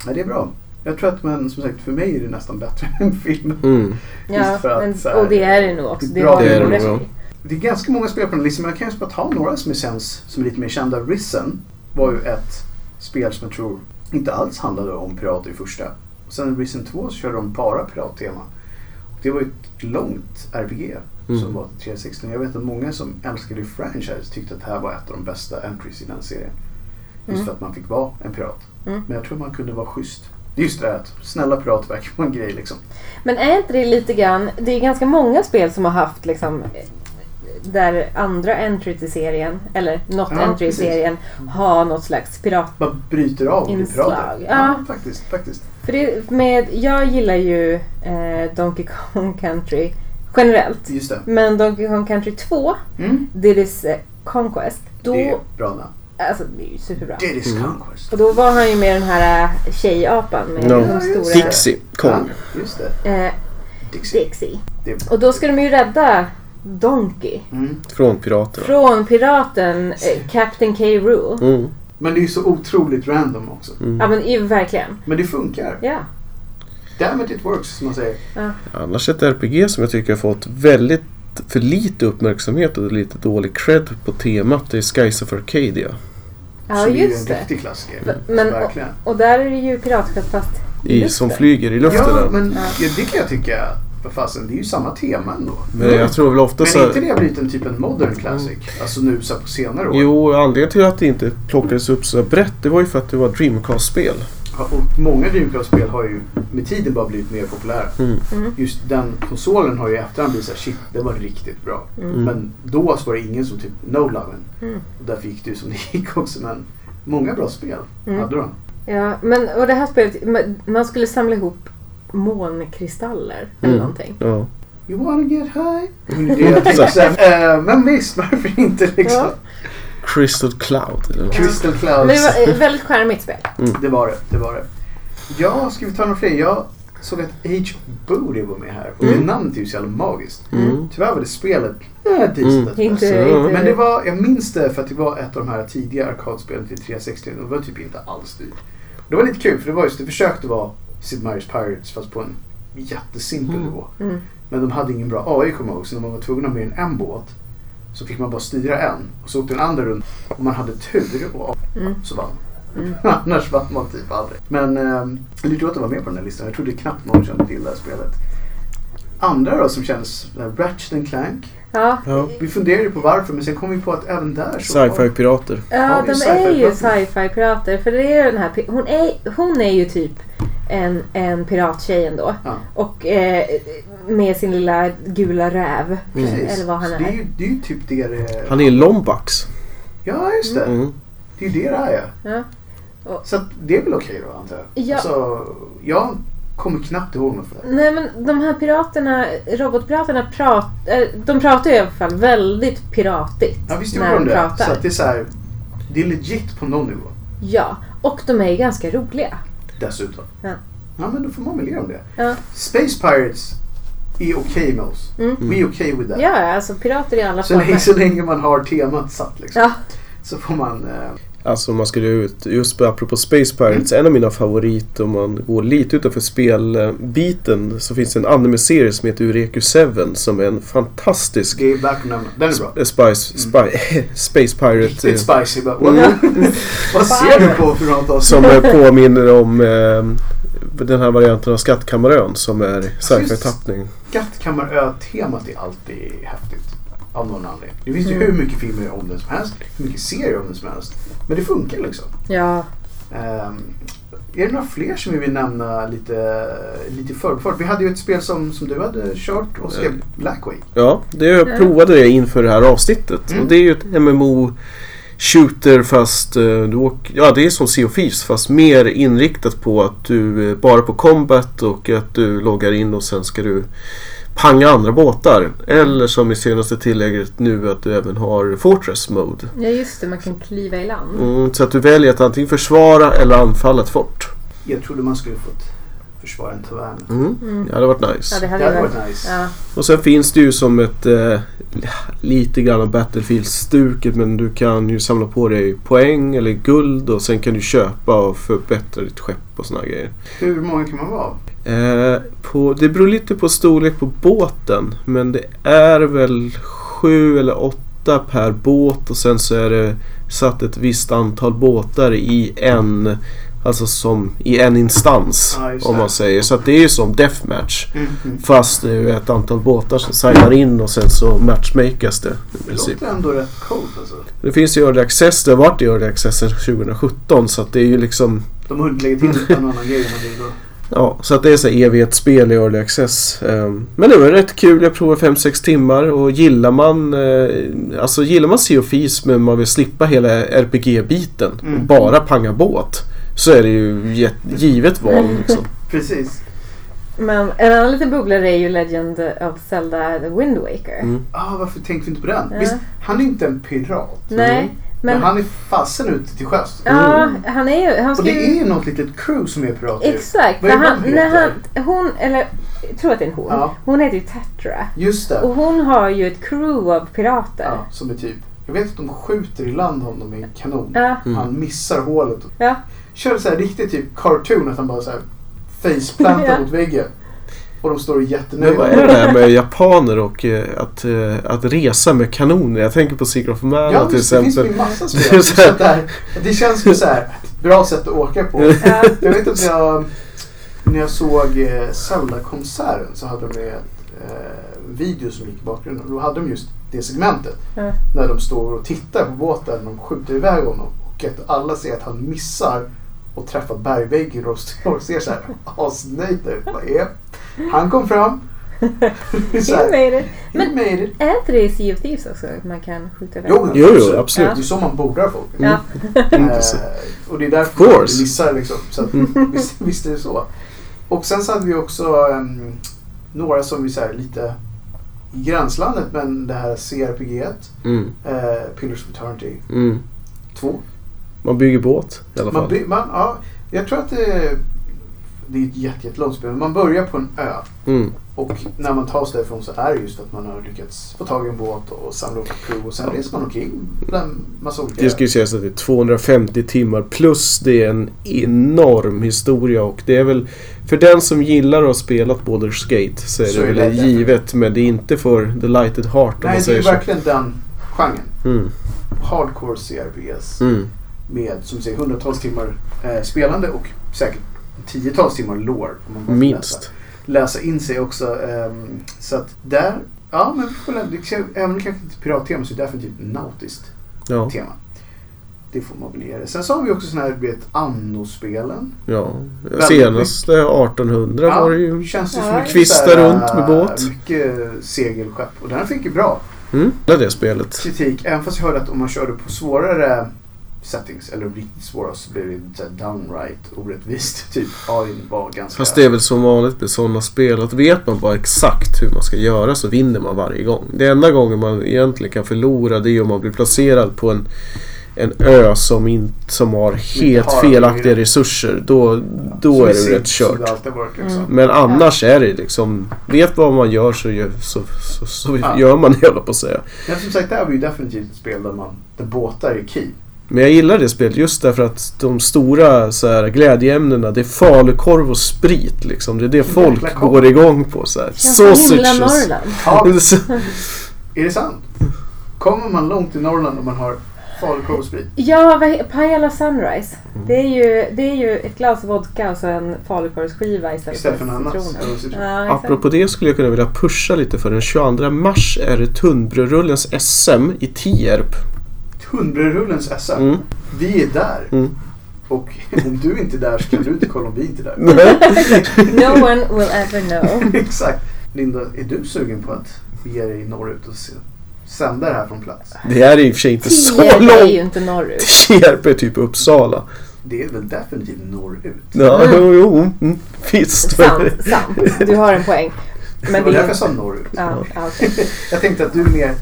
Speaker 2: Ja, det är bra. Jag tror att, men som sagt, för mig är det nästan bättre [LAUGHS] än filmen.
Speaker 1: Mm.
Speaker 4: Ja,
Speaker 2: Just för att
Speaker 4: men,
Speaker 2: så här-
Speaker 4: och det är det nog också.
Speaker 2: Det är
Speaker 4: Det,
Speaker 2: bra
Speaker 4: har ju
Speaker 1: Det är det
Speaker 4: rätt
Speaker 1: nog,
Speaker 4: i.
Speaker 2: Det är ganska många spel på den här listan, men jag kan ju bara ta några som känns som är lite mer kända. Risen var ju ett spel som jag tror inte alls handlade om pirater i första. Och sen Risen 2 så körde de bara pirattema. Och det var ju ett långt RPG
Speaker 1: Mm.
Speaker 2: som var 360. Jag vet att många som älskade franchise tyckte att det här var ett av de bästa entries i den serien. Just
Speaker 4: Mm.
Speaker 2: för att man fick vara en pirat.
Speaker 4: Mm.
Speaker 2: Men jag tror man kunde vara schysst. Det är just det där att snälla pirater verkar vara en grej liksom.
Speaker 4: Men är inte det lite grann, det är ganska många spel som har haft liksom eh, där andra entry till serien, eller något
Speaker 2: Ja,
Speaker 4: entry
Speaker 2: precis.
Speaker 4: i serien, har något slags pirat.
Speaker 2: Bara bryter av och blir
Speaker 4: Inslag,
Speaker 2: pirater.
Speaker 4: ja.
Speaker 2: faktiskt, faktiskt.
Speaker 4: För det med, jag gillar ju eh, Donkey Kong Country generellt.
Speaker 2: Just det.
Speaker 4: Men Donkey Kong Country 2,
Speaker 2: Mm.
Speaker 4: Diddy's eh, Conquest, då,
Speaker 2: Det är bra namn.
Speaker 4: alltså det är ju superbra.
Speaker 2: Diddy's
Speaker 1: Mm.
Speaker 2: Conquest.
Speaker 4: Och då var han ju med den här eh, tjejapan med
Speaker 1: No.
Speaker 4: de stora...
Speaker 1: Dixie Kong.
Speaker 2: Ja, just det.
Speaker 4: Eh,
Speaker 2: Dixie.
Speaker 4: Dixie.
Speaker 2: Det är bra.
Speaker 4: Och då ska de ju rädda Donkey.
Speaker 2: Mm.
Speaker 1: Från Piraterna.
Speaker 4: Från piraten eh, Captain K. Rool.
Speaker 1: Mm.
Speaker 2: Men det är ju så otroligt random också.
Speaker 4: Ja men ju verkligen.
Speaker 2: Men det funkar.
Speaker 4: Ja.
Speaker 2: Damn it, it works som man säger.
Speaker 1: Annars ett RPG som jag tycker har fått väldigt för lite uppmärksamhet och lite dålig cred på temat det är Skies of Arcadia.
Speaker 4: Ja
Speaker 2: så det är ju
Speaker 4: just
Speaker 2: en
Speaker 4: det.
Speaker 2: riktig klassiker.
Speaker 4: Va- men-
Speaker 2: Verkligen.
Speaker 4: Och där är det ju piratskepp fast i
Speaker 1: I,
Speaker 4: luften.
Speaker 1: som flyger i luften.
Speaker 2: Ja,
Speaker 1: där. men,
Speaker 2: men
Speaker 4: Ja.
Speaker 2: ja, det kan jag tycka. Vad fasen, det är ju samma tema ändå. Mm.
Speaker 1: jag tror väl ofta
Speaker 2: Men
Speaker 1: så här-
Speaker 2: inte det har blivit en typ en modern classic? Alltså nu så här på senare år.
Speaker 1: Jo, anledningen till att det inte plockades upp så brett det var ju för att det var ett Dreamcast-spel.
Speaker 2: Ja, Och många Dreamcast-spel har ju med tiden bara blivit mer populära.
Speaker 1: Mm.
Speaker 4: Mm.
Speaker 2: Just den konsolen har ju i efterhand blivit såhär, shit, det var riktigt bra.
Speaker 1: Mm.
Speaker 2: Men då så var det ingen som typ no loven.
Speaker 4: Mm.
Speaker 2: Och därför gick det ju som det gick också. Men många bra spel
Speaker 4: Mm.
Speaker 2: hade de.
Speaker 4: Ja men och det här spelet, ma- man skulle samla ihop månkristaller eller
Speaker 1: Mm.
Speaker 4: någonting.
Speaker 1: Ja.
Speaker 2: typ You wanna get high? Men, det, jag tänkte så här, eh, men visst, varför inte liksom?
Speaker 4: Ja.
Speaker 1: Crystal Cloud. Eller? något.
Speaker 2: Crystal
Speaker 3: Men
Speaker 2: Clouds.
Speaker 3: det var
Speaker 4: eh,
Speaker 3: ett väldigt charmigt spel.
Speaker 2: Det var det. Det var det. Ja, ska vi ta några fler? Jag såg att H. Booty var med här och det namnet är ju så jävla magiskt.
Speaker 1: Mm.
Speaker 2: Tyvärr var det spelet eh,
Speaker 1: Mm.
Speaker 2: decent.
Speaker 4: Inte,
Speaker 1: Så.
Speaker 4: inte,
Speaker 2: Men det var, jag minns det för att det var ett av de här tidiga arkadspelen till 360 och det var typ inte alls dyrt. Det var lite kul för det var just, det försökte vara Sid Meier's Pirates fast på en jättesimpel
Speaker 1: Mm.
Speaker 2: nivå.
Speaker 4: Mm.
Speaker 2: Men de hade ingen bra AI kommer jag ihåg så när man var tvungen att ha med en, en båt så fick man bara styra en och så åkte den andra runt om man hade tur och
Speaker 4: Mm.
Speaker 2: så vann man. [LAUGHS] Annars vann man typ aldrig. Men ehm, det är tur att det var med på den här listan. Jag trodde knappt någon kände till det här spelet. Andra då som kändes, eh, Ratchet and Clank.
Speaker 4: Ja,
Speaker 1: Ja.
Speaker 2: Vi funderade ju på varför men sen kom vi på att även där så var-
Speaker 1: Sci-fi pirater.
Speaker 4: ja
Speaker 2: det är
Speaker 4: de
Speaker 2: sci-fi
Speaker 4: är ju
Speaker 2: pirater.
Speaker 4: sci-fi pirater. För det är ju den här, pi- hon, är, hon är ju typ en, en pirattjej ändå.
Speaker 2: Ja.
Speaker 4: Och eh, med sin lilla gula räv.
Speaker 2: Precis.
Speaker 4: Eller vad han
Speaker 2: så
Speaker 4: är.
Speaker 2: Det är, ju, det är ju typ det det
Speaker 1: Mm. Han är Lombax.
Speaker 2: Ja, just det.
Speaker 1: Mm.
Speaker 2: Det är ju det det är.
Speaker 4: Ja.
Speaker 2: ja. Så att det är väl okej då, antar jag?
Speaker 4: Ja.
Speaker 2: Alltså, jag kommer knappt ihåg något för det.
Speaker 4: Nej men de här piraterna, robotpiraterna pratar, de pratar ju i alla fall väldigt piratigt.
Speaker 2: Ja, visst
Speaker 4: när
Speaker 2: gjorde de det.
Speaker 4: pratar.
Speaker 2: Så att det är så här, det är legit på någon nivå
Speaker 4: Ja, och de är ju ganska roliga.
Speaker 2: dessutom.
Speaker 4: Ja.
Speaker 2: Ja, men då får man väl ge dem det.
Speaker 4: Ja.
Speaker 2: Space Pirates är okej med oss.
Speaker 4: Mm.
Speaker 2: We är okej with that.
Speaker 4: Ja, alltså pirater i alla
Speaker 2: Så, länge,
Speaker 4: fall.
Speaker 2: så länge man har temat satt liksom.
Speaker 4: Ja.
Speaker 2: Så får man... Eh,
Speaker 1: Alltså om man skulle ut, just apropå Space Pirates, en av mina favoriter om man går lite utanför spelbiten så finns det en anime-serie som heter Ureku 7 som är en fantastisk
Speaker 2: det är värt att nämna. Den är bra. Mm.
Speaker 1: eh, spice, spi- [LAUGHS] Space Pirate
Speaker 2: Riktigt
Speaker 1: eh,
Speaker 2: spicy. Bara,
Speaker 1: Mm.
Speaker 2: Vad ser du på för något avsnitt?
Speaker 1: som eh, påminner om eh, den här varianten av Skattkammarön som är sci-fi-tappning.
Speaker 2: Skattkammarö-temat är alltid häftigt. Av någon anledning. Det finns ju hur mycket filmer om den som helst. Hur mycket serier om den som helst. Men det funkar liksom.
Speaker 4: ja.
Speaker 2: Ehm, är det några fler som vi vill nämna lite, lite i förbifart? Vi hade ju ett spel som, som du hade kört och skrev
Speaker 1: Eh.
Speaker 2: Blackway.
Speaker 1: Ja, det jag provade det inför det här avsnittet.
Speaker 2: Mm.
Speaker 1: Och det är ju ett MMO shooter fast eh, du åker, ja, det är som Sea of Thieves fast mer inriktat på att du eh, bara på combat och att du loggar in och sen ska du panga andra båtar. Eller som i senaste tillägget nu att du även har Fortress Mode.
Speaker 4: ja, just det. Man kan kliva i land.
Speaker 1: Mm, så att du väljer att antingen försvara eller anfalla ett fort.
Speaker 2: Jag trodde man skulle fått försvara en tavern.
Speaker 1: Mm.
Speaker 4: Mm.
Speaker 1: Ja, det hade varit nice.
Speaker 4: Ja, det
Speaker 2: Det
Speaker 4: hade
Speaker 2: hade
Speaker 4: varit...
Speaker 2: varit nice.
Speaker 4: Ja.
Speaker 1: Och sen finns det ju som ett eh, lite grann av Battlefield-stuket men du kan ju samla på dig poäng eller guld och sen kan du köpa och förbättra ditt skepp och såna grejer.
Speaker 2: Hur många kan man vara?
Speaker 1: Eh, på, det beror lite på storlek på båten men det är väl sju eller åtta per båt och sen så är det satt ett visst antal båtar i en Alltså som i en instans
Speaker 2: Ja, just
Speaker 1: om
Speaker 2: det.
Speaker 1: man säger. Så att det är ju som deathmatch.
Speaker 2: Mm.
Speaker 1: Fast det är ju ett antal båtar som signar in och sen så matchmakas det i
Speaker 2: Det
Speaker 1: princip.
Speaker 2: låter ändå rätt coolt alltså.
Speaker 1: Det finns ju Early Access, det har varit i Early Access sedan 2017 så att det är ju liksom
Speaker 2: De har hunnit lägga till en annan grej. än vad det är då.
Speaker 1: Ja, så att det är så här evighetsspel i Early Access. Ehm, Men det var rätt kul, jag provade 5-6 timmar och gillar man eh, Alltså gillar man Sea of Thieves men man vill slippa hela RPG-biten och
Speaker 2: Mm.
Speaker 1: bara panga båt. Så är det ju get- givet val liksom.
Speaker 2: Precis.
Speaker 4: Men en annan liten bubblare är ju Legend of Zelda The Wind Waker.
Speaker 1: Mm.
Speaker 2: Ah, varför tänkte vi inte på den?
Speaker 4: Ja.
Speaker 2: Visst, han är inte en pirat.
Speaker 4: Nej,
Speaker 2: Men,
Speaker 4: men...
Speaker 2: han är fasen ute till sjöss.
Speaker 4: Ja, han är ju... Han
Speaker 2: Och
Speaker 4: ska
Speaker 2: Mm. det är
Speaker 4: ju...
Speaker 2: ju något litet crew som är pirater.
Speaker 4: Exakt.
Speaker 2: Vad
Speaker 4: När
Speaker 2: är det de
Speaker 4: han, när
Speaker 2: heter?
Speaker 4: han, hon, eller... Jag tror att det är en hon.
Speaker 2: Ja.
Speaker 4: Hon heter ju Tetra.
Speaker 2: Just det.
Speaker 4: Och hon har ju ett crew av pirater.
Speaker 2: Ja, som är typ. Jag vet att de skjuter i land honom med en kanon. [LAUGHS]
Speaker 4: Ja.
Speaker 1: mm.
Speaker 2: Han missar hålet. och-
Speaker 4: Ja.
Speaker 2: Kör så här riktigt typ cartoon att han bara så här faceplantar
Speaker 4: [LAUGHS] Ja.
Speaker 2: mot väggen. Och de står
Speaker 1: Men vad är
Speaker 2: jättenöjda.
Speaker 1: det där med japaner och eh, att, eh, att resa med kanoner? Jag tänker på Secret of Mana
Speaker 2: Ja,
Speaker 1: till
Speaker 2: visst, det finns
Speaker 1: exempel.
Speaker 2: ju
Speaker 1: [LAUGHS]
Speaker 2: massa
Speaker 1: Det är
Speaker 2: spel.
Speaker 1: så här-
Speaker 2: Så där, det känns ju så här ett bra sätt att
Speaker 1: [LAUGHS]
Speaker 2: åka på.
Speaker 4: Ja.
Speaker 2: Jag vet att jag, när jag såg eh, Zelda-konserten så hade de ett eh, video som gick i bakgrunden. Och då hade de just det segmentet.
Speaker 4: Ja.
Speaker 2: När de står och tittar på båten och de skjuter iväg honom. Och att alla ser att han missar och träffar bergväggen och står och ser så här asnöjd ut. Vad är Han kom fram. [LAUGHS] Det är så
Speaker 4: Hur
Speaker 2: här,
Speaker 4: är det?
Speaker 2: "He
Speaker 4: Men
Speaker 2: made it."
Speaker 4: är inte det i Sea of Thieves också? att Man kan skjuta iväg
Speaker 2: Jo,
Speaker 4: dem?
Speaker 1: Jo, jo,
Speaker 2: absolut.
Speaker 1: absolut.
Speaker 2: Det är så man bordar folk.
Speaker 4: Ja.
Speaker 1: Mm,
Speaker 2: Eh,
Speaker 1: precis.
Speaker 2: och det är därför
Speaker 1: Of
Speaker 2: vi
Speaker 1: course. Mm.
Speaker 2: missar liksom. Så att, [LAUGHS] visst, visst är det så. Och sen så hade vi också ehm, några som vi så här, lite i gränslandet men det här CRPG,
Speaker 1: Mm,
Speaker 2: eh, Pillars of Eternity
Speaker 1: mm.
Speaker 2: 2.
Speaker 1: Man bygger båt i alla
Speaker 2: Man
Speaker 1: fall.
Speaker 2: by, man, ja, jag tror att det, det är ett jätte, jättelångt spel men man börjar på en ö.
Speaker 1: Mm.
Speaker 2: Och när man tar sig därifrån så är det just att man har lyckats få tag i en båt och samla upp ett crew och sen reser man omkring bland massa olika...
Speaker 1: Det ska ju sägas att det är 250 timmar plus det är en enorm historia och det är väl för den som gillar att ha spelat Baldur's Gate så är
Speaker 2: Så
Speaker 1: det
Speaker 2: är
Speaker 1: väl
Speaker 2: det definitivt.
Speaker 1: givet men det är inte för the lighted heart om
Speaker 2: Nej,
Speaker 1: man
Speaker 2: det är
Speaker 1: säger
Speaker 2: ju
Speaker 1: så.
Speaker 2: verkligen den genren.
Speaker 1: Mm,
Speaker 2: Hardcore CRPGs
Speaker 1: mm,
Speaker 2: med som säger hundratals timmar eh, spelande och säkert tiotals timmar lore. om man bara
Speaker 1: minst.
Speaker 2: Läsa, läsa in sig också. ehm, så att där, ja men vi får väl- det ska- även om det kanske inte är pirattema så är det definitivt nautiskt
Speaker 1: Ja,
Speaker 2: tema. Det får man väl ge det. Sen så har vi också sådana här, du vet, annospelen.
Speaker 1: ja.
Speaker 2: Väldigt
Speaker 1: Senaste 1800 var det ju.
Speaker 2: känns det
Speaker 3: Ja.
Speaker 2: som mycket
Speaker 1: Kvista
Speaker 2: så här, eh,
Speaker 1: runt med båt.
Speaker 2: Mycket segelskepp. Och den här fick ju bra
Speaker 1: Mm, det är det spelet.
Speaker 2: kritik. Även fast jag hörde att om man körde på svårare settings, eller riktigt svåra, så blev det så här downright orättvist. [LAUGHS] Typ AI var ganska...
Speaker 1: Fast det är väl som vanligt med sådana spel att vet man bara exakt hur man ska göra så vinner man varje gång. Det enda gången man egentligen kan förlora det är om man blir placerad på en, en ö som, in, som har helt
Speaker 2: har
Speaker 1: felaktiga
Speaker 2: några-
Speaker 1: resurser. Då, då
Speaker 2: Som
Speaker 1: är
Speaker 2: i
Speaker 1: det
Speaker 2: Sims,
Speaker 1: rätt
Speaker 2: som
Speaker 1: kört.
Speaker 2: det alltid har varit liksom.
Speaker 4: Mm.
Speaker 1: Men annars är det liksom, vet vad man gör så, gör, så, så, så
Speaker 2: Ja.
Speaker 1: gör man [LAUGHS] det höll jag på att säga.
Speaker 2: Men som sagt, det här var ju definitivt ett spel där man, där båtar är
Speaker 1: [LAUGHS]
Speaker 2: key.
Speaker 1: Men jag gillar det spelet just därför att de stora så här, glädjeämnena det är falukorv och sprit liksom. Det är det
Speaker 2: Jäkla
Speaker 1: folk
Speaker 2: korv.
Speaker 1: går igång på så här.
Speaker 4: Känns så himla
Speaker 1: Sausages.
Speaker 4: Norrland.
Speaker 2: Ja,
Speaker 1: Så-
Speaker 2: är det sant? Kommer man långt i Norrland om man har falukorv och sprit?
Speaker 4: Ja, vad he- Pajala Sunrise. Det, är ju, det är ju ett glas vodka och så en falukorvsskiva istället,
Speaker 2: Istället för en annan.
Speaker 4: citroner.
Speaker 2: Eller citron.
Speaker 4: Ja, exakt.
Speaker 1: Apropå det skulle jag kunna vilja pusha lite för den 22 mars är det tunnbrödrullens SM i Tierp.
Speaker 2: Tunnbrödrullens SM.
Speaker 4: [LAUGHS]
Speaker 1: Mm.
Speaker 2: Vi är där.
Speaker 1: Mm.
Speaker 2: Och [LAUGHS] om du inte är där så kan du inte kolla om vi inte är där.
Speaker 1: Nej.
Speaker 4: No one will ever [LAUGHS]
Speaker 2: [LAUGHS]
Speaker 4: know.
Speaker 2: Exakt. Linda, är du sugen på att bege dig norrut och se, sända det här från plats?
Speaker 1: Det här är i och för sig inte så
Speaker 4: Tierp är ju
Speaker 1: långt.
Speaker 4: inte norrut.
Speaker 1: [LAUGHS] Tierp är typ Uppsala.
Speaker 2: Det är väl definitivt norrut?
Speaker 1: Ja, jo, jo, mm, visst.
Speaker 4: Sant, sant. Du har en poäng.
Speaker 2: det
Speaker 4: Men
Speaker 2: var
Speaker 4: det
Speaker 2: därför
Speaker 4: är...
Speaker 2: jag sa norrut.
Speaker 4: Ja, ja, okej.
Speaker 2: [LAUGHS] Jag tänkte att du är mer,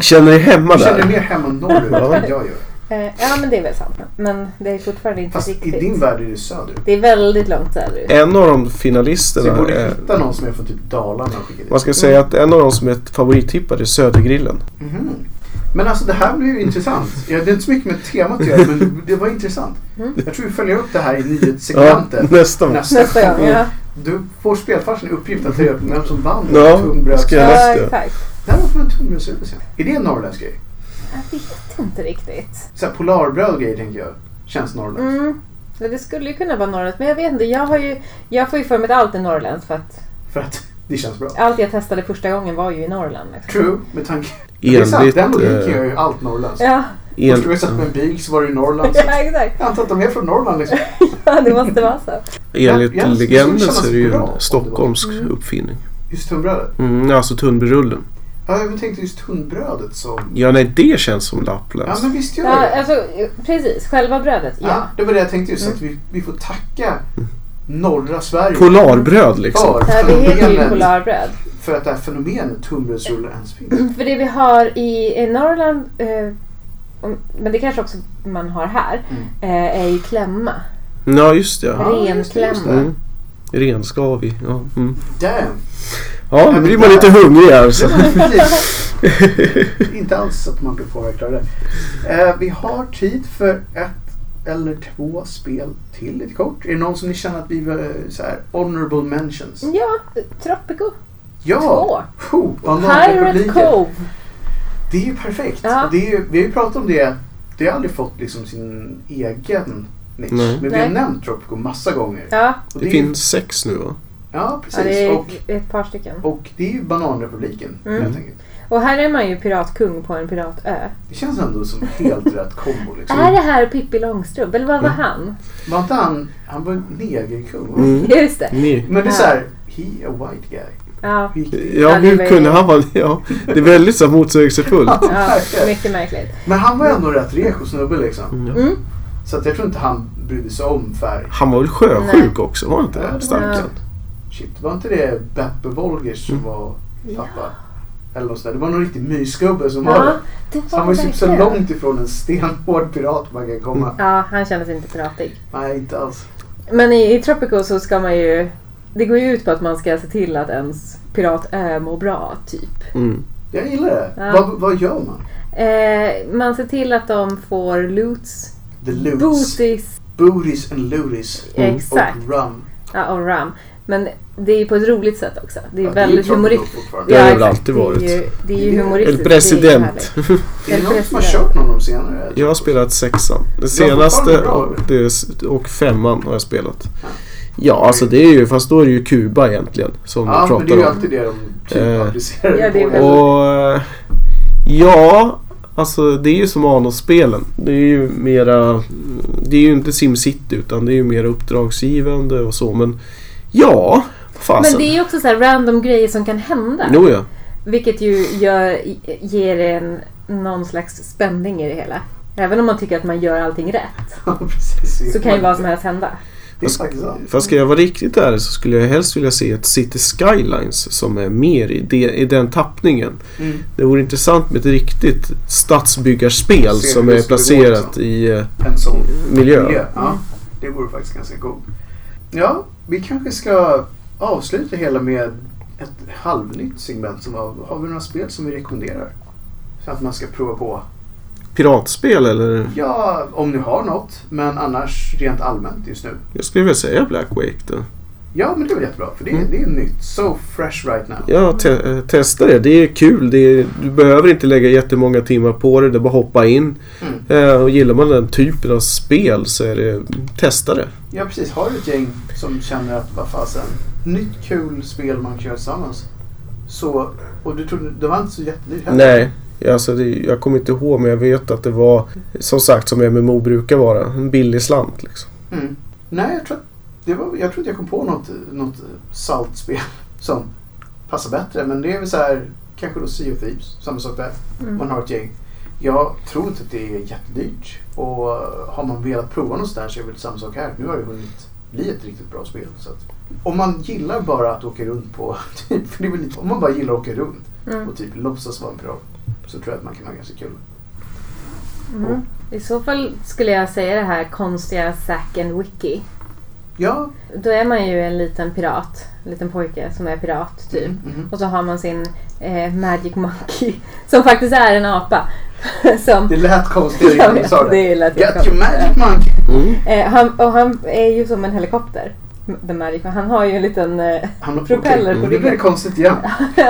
Speaker 1: Känner dig hemma
Speaker 2: du känner dig
Speaker 1: där?
Speaker 2: mer hemma norrut än jag
Speaker 4: [LAUGHS]
Speaker 2: gör.
Speaker 4: Eh, ja, men det är väl sant. Men det är fortfarande inte
Speaker 2: Fast i
Speaker 4: riktigt.
Speaker 2: din värld är det söderut.
Speaker 4: Det är väldigt långt söderut.
Speaker 1: En av de
Speaker 2: Så vi
Speaker 1: finalisterna
Speaker 2: borde
Speaker 1: är,
Speaker 2: hitta någon som är från typ Dalarna och skicka dit.
Speaker 1: man eh, ska säga att en av de som är favorittippad är Södergrillen.
Speaker 2: Mhm. Men alltså det här blev ju intressant.
Speaker 1: [LAUGHS]
Speaker 2: Ja, det är inte så mycket med temat att göra men det var intressant.
Speaker 4: Mm.
Speaker 2: Jag tror vi följer upp det här i nyhetssegmentet.
Speaker 1: nästa. gång.
Speaker 2: Nästa
Speaker 4: Nästa gång, ja.
Speaker 2: Du får spelfarsen i uppgift att ta reda på vem som vann
Speaker 1: Ja,
Speaker 2: tunnbröds...
Speaker 1: ska jag-
Speaker 4: ja
Speaker 1: läste.
Speaker 4: exakt.
Speaker 2: Det här var från en tunnbrödsrus. Är det en norrländsk grej?
Speaker 4: Jag vet inte riktigt.
Speaker 2: Så här polarbröd och grejer tänker jag. Känns norrländskt.
Speaker 4: Mm. Men Det skulle ju kunna vara norrländskt, men jag vet inte. Jag, har ju, jag får ju för mig att allt är norrländskt för att
Speaker 2: För att [LAUGHS] det känns bra.
Speaker 4: allt jag testade första gången var ju i Norrland. Liksom.
Speaker 2: True,
Speaker 1: [LAUGHS]
Speaker 2: med tanke... det är sant,
Speaker 1: Enligt...
Speaker 2: den logiken gör
Speaker 1: Eh,
Speaker 2: ju allt norrländskt.
Speaker 4: Ja, [LAUGHS]
Speaker 2: Först
Speaker 1: en,
Speaker 2: gången jag satt med en bil så var det ju Norrland. Så
Speaker 4: ja, exakt.
Speaker 2: jag antar att de är från Norrland liksom.
Speaker 4: Ja, det måste vara så.
Speaker 2: Ja, ja,
Speaker 1: enligt
Speaker 2: det skulle
Speaker 1: legenden
Speaker 2: kännas
Speaker 1: så är det ju
Speaker 2: bra om det
Speaker 1: en
Speaker 2: var- Mm.
Speaker 1: stockholmsk uppfinning.
Speaker 2: Just tunnbrödet.
Speaker 1: Mm, alltså tunnbrödsrullen.
Speaker 2: Ja, jag tänkte just tunnbrödet som...
Speaker 1: Ja, nej, det känns som
Speaker 2: Ja,
Speaker 1: lapplöst.
Speaker 2: men visst gör det.
Speaker 4: Ja, alltså, precis, själva brödet.
Speaker 2: Ja.
Speaker 4: Ja.
Speaker 2: det var det jag tänkte just att vi, vi får tacka norra Sverige
Speaker 1: Polarbröd liksom.
Speaker 2: för,
Speaker 4: Ja, det heter ju
Speaker 2: fenomenet-
Speaker 4: polarbröd.
Speaker 2: för att det här fenomenet tunnbrödsrulle ens finns.
Speaker 4: För det vi har i, i Norrland, eh, om- men det kanske också man har här,
Speaker 2: Mm.
Speaker 4: eh, är ju klämma.
Speaker 1: Ja, just det. Ja.
Speaker 2: Ja, just det, just det.
Speaker 4: Renklämma.
Speaker 1: Mm. Renskavig. Ja, mm.
Speaker 2: Damn!
Speaker 1: ja nu
Speaker 2: men
Speaker 1: blir man
Speaker 2: där-
Speaker 1: lite hungrig här. Så.
Speaker 4: [LAUGHS]
Speaker 2: Det var precis. Inte alls att man blir påverkad av det. Eh, vi har tid för ett eller två spel till lite kort. Är det någon som ni känner att vi eh, så här honorable mentions?
Speaker 4: Ja, Tropico.
Speaker 2: Ja! Puh,
Speaker 4: Pirate
Speaker 2: Bananrepubliken.
Speaker 4: Cove.
Speaker 2: Det är ju perfekt.
Speaker 4: Ja.
Speaker 2: Och Det är ju, vi har ju pratat om det. Det har aldrig fått liksom sin egen nisch.
Speaker 1: Nej.
Speaker 2: Men vi har
Speaker 4: Nej.
Speaker 2: nämnt Tropico massa gånger.
Speaker 4: Ja,
Speaker 2: Och
Speaker 1: Det
Speaker 2: är-
Speaker 1: finns sex nu va?
Speaker 2: Ja,
Speaker 4: ja,
Speaker 2: precis.
Speaker 4: det är
Speaker 2: Och,
Speaker 4: ett par stycken.
Speaker 2: och det är ju Bananrepubliken
Speaker 4: Mm.
Speaker 2: helt enkelt.
Speaker 4: Och här är man ju piratkung på en piratö.
Speaker 2: Det känns ändå som helt rätt kombo. Liksom.
Speaker 4: Är det här Pippi Långstrump? Eller vad var
Speaker 2: Mm.
Speaker 4: han? [LAUGHS]
Speaker 2: Var inte han, han var en negerkung? va?
Speaker 1: Mm.
Speaker 4: Just det.
Speaker 1: Ni.
Speaker 2: Men det är såhär, he a white guy.
Speaker 4: Ja,
Speaker 2: Hur gick det?
Speaker 1: Ja,
Speaker 4: Ja, det
Speaker 1: hur
Speaker 4: var-
Speaker 1: kunde han vara ja, Det är väldigt så här motsägelsefullt.
Speaker 4: ja mycket märkligt.
Speaker 2: [LAUGHS] Men han var ju ändå rätt reko snubbe liksom.
Speaker 1: Mm.
Speaker 4: Mm.
Speaker 2: Så att jag tror inte han brydde sig om färg.
Speaker 1: Han var väl sjösjuk också? Var han inte det? Starken. Mm.
Speaker 2: Shit, var inte det Beppe Wolgers som var pappa? Eller något sånt där. Det var någon riktig mysgubbe som var
Speaker 4: Ja,
Speaker 2: det.
Speaker 4: det
Speaker 2: Så
Speaker 4: var
Speaker 2: han var ju typ så
Speaker 4: verkligen.
Speaker 2: långt ifrån en stenhård pirat man kan komma.
Speaker 1: Mm.
Speaker 4: Ja, han kändes inte piratig.
Speaker 2: Nej, inte alls.
Speaker 4: Men i, i Tropico så ska man ju... Det går ju ut på att man ska se till att ens pirat äh, mår bra, typ.
Speaker 1: Mm.
Speaker 2: Jag gillar det.
Speaker 4: Ja.
Speaker 2: Vad, vad gör man?
Speaker 4: Eh, man ser till att de får loots,
Speaker 2: The loots.
Speaker 4: booties,
Speaker 2: Booties and looties.
Speaker 1: Mm.
Speaker 4: exakt,
Speaker 2: Och rum.
Speaker 4: ja, och ram. Men det är ju på ett roligt sätt också. Det är
Speaker 2: Ja,
Speaker 4: ju väldigt
Speaker 2: ju Tropico
Speaker 4: humoristiskt.
Speaker 2: fortfarande.
Speaker 1: Det har det väl
Speaker 4: exakt.
Speaker 1: alltid varit.
Speaker 4: Det är ju, det är
Speaker 2: Det
Speaker 4: ju
Speaker 2: är-
Speaker 1: El
Speaker 4: humoristiskt. Det är ju
Speaker 1: president.
Speaker 4: härligt.
Speaker 2: Är det någon som har
Speaker 4: President.
Speaker 2: kört någon av de senare?
Speaker 1: Jag har spelat sexan. Det
Speaker 2: fortfarande
Speaker 1: senaste
Speaker 2: bra,
Speaker 1: och,
Speaker 2: eller?
Speaker 1: det, s- och femman har jag spelat.
Speaker 2: Ja.
Speaker 1: Ja, alltså det är ju, fast då är det ju Kuba egentligen som
Speaker 2: Ja,
Speaker 1: vi
Speaker 2: men det är ju
Speaker 1: pratar om.
Speaker 2: alltid det de
Speaker 1: Eh.
Speaker 2: typ applicerar
Speaker 4: Ja, det är
Speaker 2: på.
Speaker 4: väl-
Speaker 1: Och eh, ja, alltså det är ju som Anos-spelen. Det är ju mera, det är ju inte SimCity utan det är ju mer uppdragsgivande och så men ja, vad
Speaker 4: Men
Speaker 1: fasen.
Speaker 4: det är ju också så här random grejer som kan hända.
Speaker 1: Jo, ja.
Speaker 4: Vilket ju gör, ger en någon slags spänning i det hela. Även om man tycker att man gör allting rätt
Speaker 2: [LAUGHS] Ja, precis.
Speaker 4: så kan ju vad som helst hända.
Speaker 2: Det är faktiskt sant.
Speaker 1: Fast ska jag vara riktigt ärlig så skulle jag helst vilja se ett City Skylines som är mer i, det, i den tappningen.
Speaker 2: Mm.
Speaker 1: Det vore intressant med ett riktigt stadsbyggarspel
Speaker 2: Se hur
Speaker 1: som
Speaker 2: det
Speaker 1: är
Speaker 2: skulle gå,
Speaker 1: placerat
Speaker 2: liksom.
Speaker 1: i eh,
Speaker 2: En sån
Speaker 1: miljö.
Speaker 2: miljö. Ja, det vore faktiskt ganska god. Ja, vi kanske ska avsluta hela med ett halvnytt segment. Som har, har vi några spel som vi rekommenderar? Så att man ska prova på.
Speaker 1: Piratspel eller?
Speaker 2: Ja, om ni har något. Men annars rent allmänt just nu.
Speaker 1: Jag skulle vilja säga Black Wake då.
Speaker 2: Ja, men det är väl jättebra. För det,
Speaker 1: Mm.
Speaker 2: det är nytt. So fresh right now.
Speaker 1: Ja, te- eh, testa det. Det är kul. Det är, du behöver inte lägga jättemånga timmar på det. Det är bara att hoppa in.
Speaker 2: Mm.
Speaker 1: Eh, och gillar man den typen av spel så är det, testa det.
Speaker 2: Ja, precis. Har du ett gäng som känner att vad fasen, nytt kul spel man kör tillsammans. Så, och du trodde, det var inte så jättedyrt heller.
Speaker 1: Nej, alltså det, jag kommer inte ihåg men jag vet att det var som sagt som MMO brukar vara. En billig slant liksom.
Speaker 2: Mm. Nej, jag tror, att- det var, jag tror inte jag kom på något, något saltspel [LAUGHS] som passar bättre. Men det är väl så här, kanske då Sea of Thieves, samma sak där.
Speaker 4: Mm.
Speaker 2: Man har ett gäng. Jag tror inte att det är jättedyrt. Och har man velat prova något sånt där så är det väl samma sak här. Nu har det hunnit bli ett riktigt bra spel. Så att, om man gillar bara att åka runt på, [LAUGHS] typ, för det är väl lite, om man bara gillar att åka runt
Speaker 4: Mm.
Speaker 2: och typ låtsas vara en pirat så tror jag att man kan ha ganska kul.
Speaker 4: Mm. I så fall skulle jag säga det här konstiga Zack and Wiki.
Speaker 2: Ja,
Speaker 4: Då är man ju en liten pirat, en liten pojke som är pirat typ.
Speaker 2: mhm.
Speaker 4: Och så har man sin eh, Magic Monkey [LAUGHS] som faktiskt är en apa. [LAUGHS] som,
Speaker 2: det lät konstigt innan
Speaker 4: [LAUGHS]
Speaker 2: du sa det.
Speaker 4: det lät
Speaker 2: Get
Speaker 4: jättekonstigt.
Speaker 2: your magic monkey!
Speaker 4: Eh, han, och han är ju som en helikopter. The Magic Man. Han har ju en liten... Eh,
Speaker 2: Han har
Speaker 4: Propeller på
Speaker 2: Mm. Det blir
Speaker 4: ryggen.
Speaker 2: konstigt igen.
Speaker 4: [LAUGHS]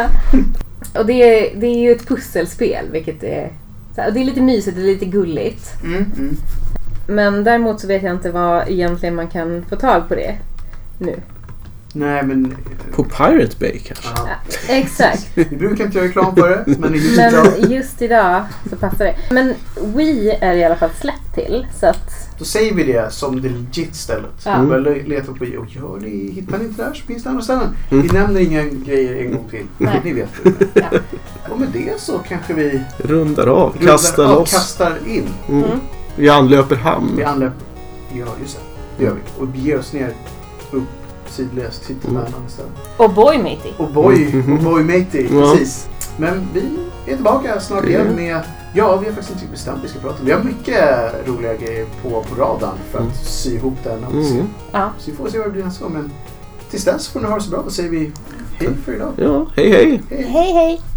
Speaker 4: och det är, det är ju ett pusselspel vilket är... så här, Och det är lite mysigt, det är lite gulligt.
Speaker 2: Mm, mm.
Speaker 4: Men däremot så vet jag inte vad egentligen man kan få tag på det nu.
Speaker 2: Nej men...
Speaker 1: På Pirate Bay kanske?
Speaker 2: Ja.
Speaker 4: Exakt.
Speaker 2: [LAUGHS] Vi brukar inte göra reklam för det, men det är just idag.
Speaker 4: Men just idag så passar det. Men Wii är i alla fall släppt till så att... [LAUGHS]
Speaker 2: Då säger vi det som det legit stället.
Speaker 4: Ja.
Speaker 2: Mm. Börja leta på bio. Gör ni, hittar ni inte där så finns det andra ställen.
Speaker 1: Mm.
Speaker 2: Vi nämner inga grejer en gång till.
Speaker 4: Nej.
Speaker 2: Ni vet hur det
Speaker 4: Ja.
Speaker 2: är. Och med det så kanske vi
Speaker 1: Rundar av,
Speaker 2: rullar
Speaker 1: kastar
Speaker 2: av,
Speaker 1: loss.
Speaker 2: kastar in.
Speaker 1: Mm. Vi anlöper hamn.
Speaker 2: Vi andra... Ja, just det. Det gör vi. Och beger oss ner upp sidledes till
Speaker 1: Mm.
Speaker 2: Värmland istället.
Speaker 4: Och boy matey.
Speaker 2: Och boy,
Speaker 1: Mhm.
Speaker 2: och boy matey,
Speaker 1: Ja.
Speaker 2: precis. Men vi är tillbaka snart igen
Speaker 1: Mm.
Speaker 2: med, ja vi har faktiskt inte riktigt bestämt vad vi ska prata om. Vi har mycket roliga grejer på, på radarn för att
Speaker 1: Mm.
Speaker 2: sy ihop den. Och se.
Speaker 1: Mm.
Speaker 2: Så vi får se vad det blir nästa gång. Men tills dess får ni ha det så bra. Då säger vi hej för idag.
Speaker 1: Ja, hej hej!
Speaker 2: Hej!
Speaker 4: Hej hej!